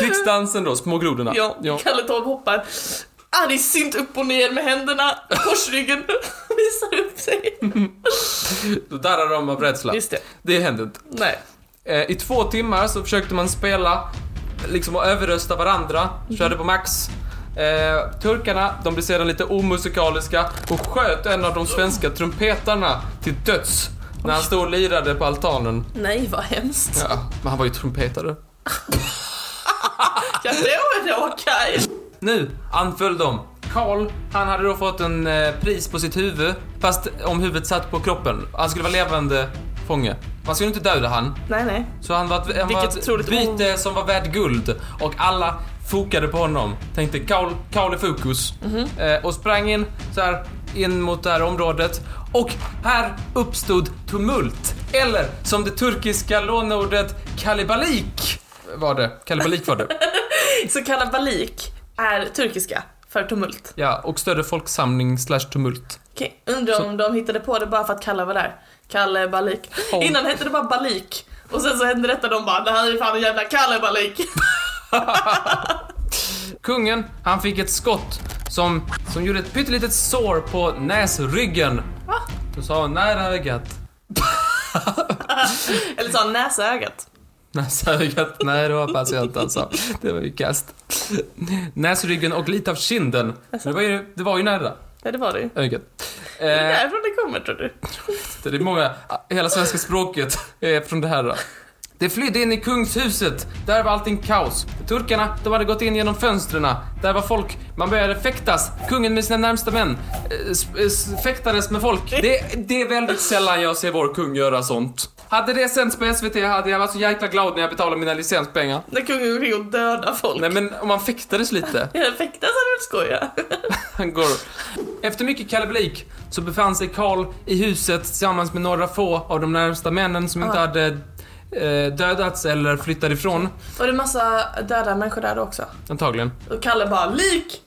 [SPEAKER 1] Krigsdansen då, små grodorna.
[SPEAKER 2] Ja, Kalle Torp hoppar Ah, argsint upp och ner med händerna, korsryggen, och visar upp sig.
[SPEAKER 1] Då darrar de av rädsla.
[SPEAKER 2] Just det.
[SPEAKER 1] Det hände inte.
[SPEAKER 2] Nej.
[SPEAKER 1] Eh, I två timmar så försökte man spela, liksom och överrösta varandra, körde på max. Eh, turkarna, de blev sedan lite omusikaliska och sköt en av de svenska trumpetarna till döds när han stod och lirade på altanen.
[SPEAKER 2] Nej, vad hemskt.
[SPEAKER 1] Ja, men han var ju trumpetare.
[SPEAKER 2] Ja, då är det okej.
[SPEAKER 1] Nu anföll de. Karl, han hade då fått en eh, pris på sitt huvud, fast om huvudet satt på kroppen. Han skulle vara levande fånge. Man skulle inte döda han,
[SPEAKER 2] Nej, nej.
[SPEAKER 1] Så han var ett, han var
[SPEAKER 2] Vilket
[SPEAKER 1] ett
[SPEAKER 2] otroligt
[SPEAKER 1] byte som var värt guld och alla fokade på honom. Tänkte Kaul, Kaul är fokus.
[SPEAKER 2] Mhm.
[SPEAKER 1] Eh, och sprang in så här in mot det här området och här uppstod tumult. Eller som det turkiska låneordet kalibalik var det. Kalibalik var det.
[SPEAKER 2] Så kallad balik är turkiska för tumult.
[SPEAKER 1] Ja, och större folksamling slash tumult.
[SPEAKER 2] Okej, undrar om de hittade på det bara för att Kalle var där. Kalle Balik.
[SPEAKER 1] Om.
[SPEAKER 2] Innan hette det bara Balik. Och sen så hände detta de bara, det här är fan en jävla Kalle Balik.
[SPEAKER 1] Kungen, han fick ett skott som, som gjorde ett pyttelitet sår på näsryggen.
[SPEAKER 2] Va?
[SPEAKER 1] Då sa han nära ögat.
[SPEAKER 2] Eller sa näsögat.
[SPEAKER 1] Näsögat, nej det var patient alltså. Det var ju kast. Näsryggen och lite av kinden. Det var ju, det var ju nära
[SPEAKER 2] Ja, det var det ju.
[SPEAKER 1] ögat. Eh,
[SPEAKER 2] Det är därifrån det kommer tror du.
[SPEAKER 1] det är många, hela svenska språket är från det här. Då. Det flydde in i kungshuset. Där var allting kaos. Turkarna, de hade gått in genom fönstren. Där var folk. Man började fäktas. Kungen med sina närmsta män eh, s- eh, s- fäktades med folk. Det, det är väldigt sällan jag ser vår kung göra sånt. Hade det sänts på SVT hade jag varit så jäkla glad när jag betalade mina licenspengar.
[SPEAKER 2] När kungen går omkring och dödar folk.
[SPEAKER 1] Nej men om man fäktades lite.
[SPEAKER 2] Jag fäktas hade du skoja.
[SPEAKER 1] Han går. Efter mycket kalabalik så befann sig Karl i huset tillsammans med några få av de närmsta männen som inte
[SPEAKER 2] Ah.
[SPEAKER 1] hade eh, dödats eller flyttat ifrån.
[SPEAKER 2] Och det är massa döda människor där också.
[SPEAKER 1] Antagligen.
[SPEAKER 2] Och Kalle bara, lik!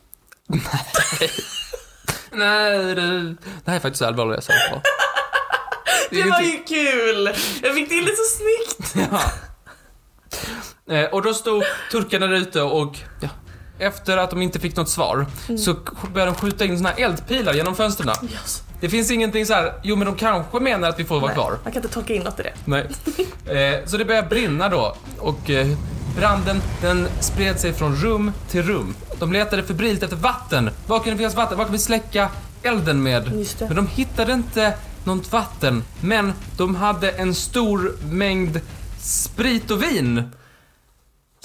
[SPEAKER 1] Nej, det, det här är faktiskt allvarliga saker. är
[SPEAKER 2] Det var
[SPEAKER 1] ingenting-
[SPEAKER 2] ju kul! Jag fick till det så snyggt.
[SPEAKER 1] Ja. Eh, och då stod turkarna där ute och ja, efter att de inte fick något svar
[SPEAKER 2] Mm.
[SPEAKER 1] så k- började de skjuta in såna här eldpilar genom fönstren.
[SPEAKER 2] Yes.
[SPEAKER 1] Det finns ingenting så här, jo men de kanske menar att vi får vara
[SPEAKER 2] Nej,
[SPEAKER 1] kvar.
[SPEAKER 2] Man kan inte tolka in något i det.
[SPEAKER 1] Nej. Eh, så det började brinna då och eh, branden den spred sig från rum till rum. De letade febrilt efter vatten. Var kan det finnas vatten? Vad kan vi släcka elden med?
[SPEAKER 2] Just det.
[SPEAKER 1] Men de hittade inte något vatten. Men de hade en stor mängd sprit och vin.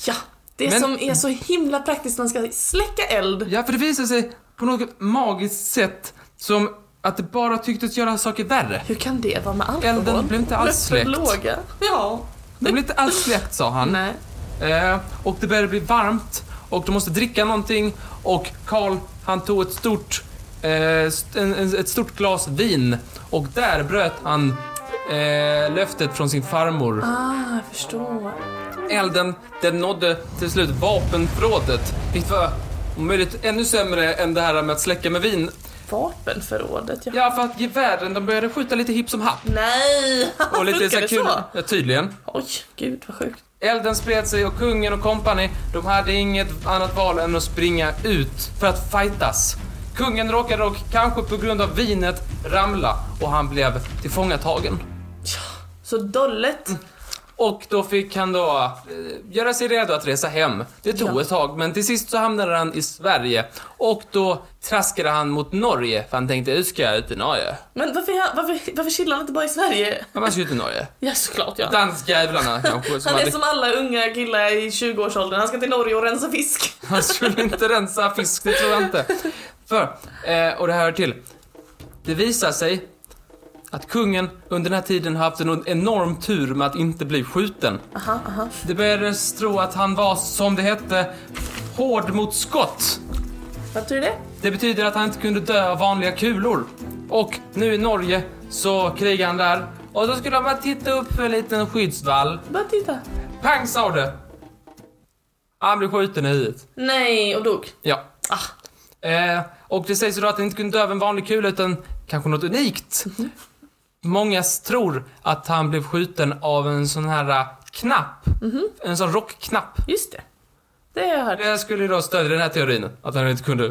[SPEAKER 2] Ja, det
[SPEAKER 1] Men-
[SPEAKER 2] som är så himla praktiskt när man ska släcka eld.
[SPEAKER 1] Ja, för det visade sig på något magiskt sätt som att det bara tycktes göra saker värre.
[SPEAKER 2] Hur kan det vara med alkohol?
[SPEAKER 1] Elden blev inte alls
[SPEAKER 2] Löften
[SPEAKER 1] släckt.
[SPEAKER 2] låga. Ja.
[SPEAKER 1] De blev inte alls släppt sa han.
[SPEAKER 2] Nej.
[SPEAKER 1] Eh, och det började bli varmt och de måste dricka någonting och Karl han tog ett stort, eh, st- en, en, ett stort glas vin och där bröt han eh, löftet från sin farmor.
[SPEAKER 2] Ah, jag förstår.
[SPEAKER 1] Elden den nådde till slut vapenförrådet vilket var om möjligt ännu sämre än det här med att släcka med vin.
[SPEAKER 2] Vapenförrådet, ja.
[SPEAKER 1] Ja, för att gevären de började skjuta lite hipp som happ.
[SPEAKER 2] Nej!
[SPEAKER 1] Och lite
[SPEAKER 2] Funkar
[SPEAKER 1] här
[SPEAKER 2] det
[SPEAKER 1] kul.
[SPEAKER 2] så?
[SPEAKER 1] Ja, tydligen.
[SPEAKER 2] Oj, gud vad sjukt.
[SPEAKER 1] Elden spred sig och kungen och kompani, de hade inget annat val än att springa ut för att fightas. Kungen råkade dock, kanske på grund av vinet, ramla och han blev tillfångatagen.
[SPEAKER 2] Så dollet.
[SPEAKER 1] Mm. Och då fick han då eh, göra sig redo att resa hem. Det tog
[SPEAKER 2] Ja.
[SPEAKER 1] ett tag, men till sist så hamnade han i Sverige. Och då traskade han mot Norge, för han tänkte, nu ska jag ut i Norge.
[SPEAKER 2] Men varför, varför, varför chillar han inte bara i Sverige?
[SPEAKER 1] Ja, man ska ut i Norge.
[SPEAKER 2] Ja, såklart ja.
[SPEAKER 1] Danska jävlarna kanske. som
[SPEAKER 2] Han är
[SPEAKER 1] hade-
[SPEAKER 2] som alla unga killar i 20-årsåldern, han ska till Norge och rensa fisk.
[SPEAKER 1] Han skulle inte rensa fisk, det tror jag inte. För, eh, och det här hör till. Det visar sig att kungen under den här tiden har haft en enorm tur med att inte bli skjuten.
[SPEAKER 2] Aha, aha.
[SPEAKER 1] Det börjades tro att han var, som det hette, hård mot skott.
[SPEAKER 2] Vad tror du det?
[SPEAKER 1] Det betyder att han inte kunde dö av vanliga kulor. Och nu i Norge så krigar han där. Och då skulle han bara titta upp för en liten skyddsvall.
[SPEAKER 2] Bara titta.
[SPEAKER 1] Pang sa det! Han blev skjuten i huvudet.
[SPEAKER 2] Nej, och dog. Ah,
[SPEAKER 1] Ja. Eh, och det sägs ju då att den inte kunde dö av en vanlig kula utan kanske något unikt. Många tror att han blev skjuten av en sån här eh, knapp. En sån rockknapp.
[SPEAKER 2] Just det. Det har jag hört.
[SPEAKER 1] Det Eh, skulle ju då stödja den här teorin, att han inte kunde.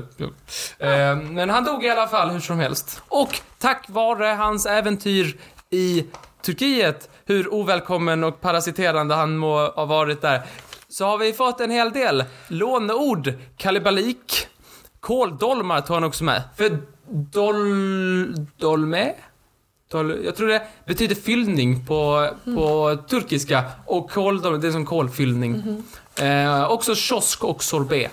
[SPEAKER 1] Eh, Men han dog i alla fall hur som helst. Och tack vare hans äventyr i Turkiet, hur ovälkommen och parasiterande han må ha varit där, så har vi fått en hel del låneord. Kalibalik, kåldolmar tar han också med. För dol... dolme? Tol, jag tror det betyder fyllning på, på turkiska. Och kol, det är som kolfyllning. Eh, också kiosk och sorbet.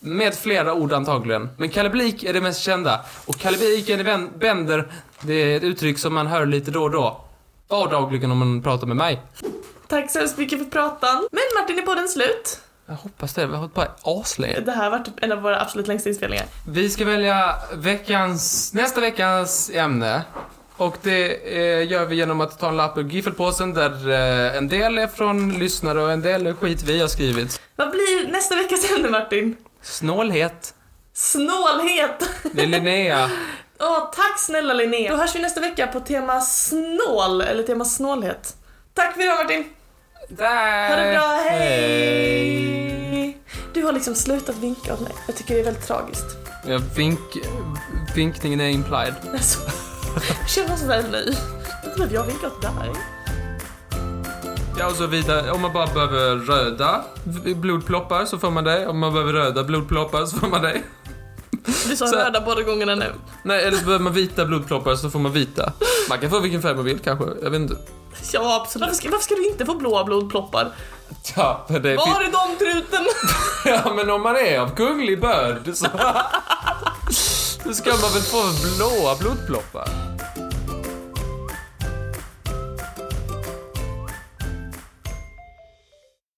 [SPEAKER 1] Med flera ord antagligen. Men kaliblik är det mest kända. Och kaliblik är en vän- bänder, det är ett uttryck som man hör lite då och då. Vardagligen om man pratar med mig.
[SPEAKER 2] Tack så hemskt mycket för pratan. Men Martin, är podden slut?
[SPEAKER 1] Jag hoppas det, vi har hållit på aslänge.
[SPEAKER 2] Det här har varit en av våra absolut längsta inspelningar.
[SPEAKER 1] Vi ska välja veckans, nästa veckans ämne. Och det eh, gör vi genom att ta en lapp ur giffelpåsen där eh, en del är från lyssnare och en del är skit vi har skrivit.
[SPEAKER 2] Vad blir nästa veckas ämne Martin?
[SPEAKER 1] Snålhet.
[SPEAKER 2] Snålhet!
[SPEAKER 1] Det är Linnea.
[SPEAKER 2] Åh, tack snälla Linnea! Då hörs vi nästa vecka på tema snål, eller tema snålhet. Tack för idag Martin!
[SPEAKER 1] Där. Eh,
[SPEAKER 2] Ha det bra, Eh, hej! Du har liksom slutat vinka åt mig. Jag tycker det är väldigt tragiskt.
[SPEAKER 1] Ja, vink, vinkningen är implied.
[SPEAKER 2] Alltså, jag känner så väl nu. Inte behöver jag vinka åt dig.
[SPEAKER 1] Ja, och så vidare. Om man bara behöver röda v- blodploppar så får man det. Om man behöver röda blodploppar så får man det.
[SPEAKER 2] Du sa
[SPEAKER 1] Så-
[SPEAKER 2] röda båda gångerna nu.
[SPEAKER 1] Nej, eller så behöver man vita blodploppar så får man vita. Man kan få vilken färg man vill kanske. Jag vet inte.
[SPEAKER 2] Ja, absolut. Varför ska, varför ska du inte få blåa blodploppar?
[SPEAKER 1] Ja, för det
[SPEAKER 2] Var
[SPEAKER 1] finns...
[SPEAKER 2] är de truten?
[SPEAKER 1] Ja, men om man är av kunglig börd så... Då ska man väl få blåa blodploppar?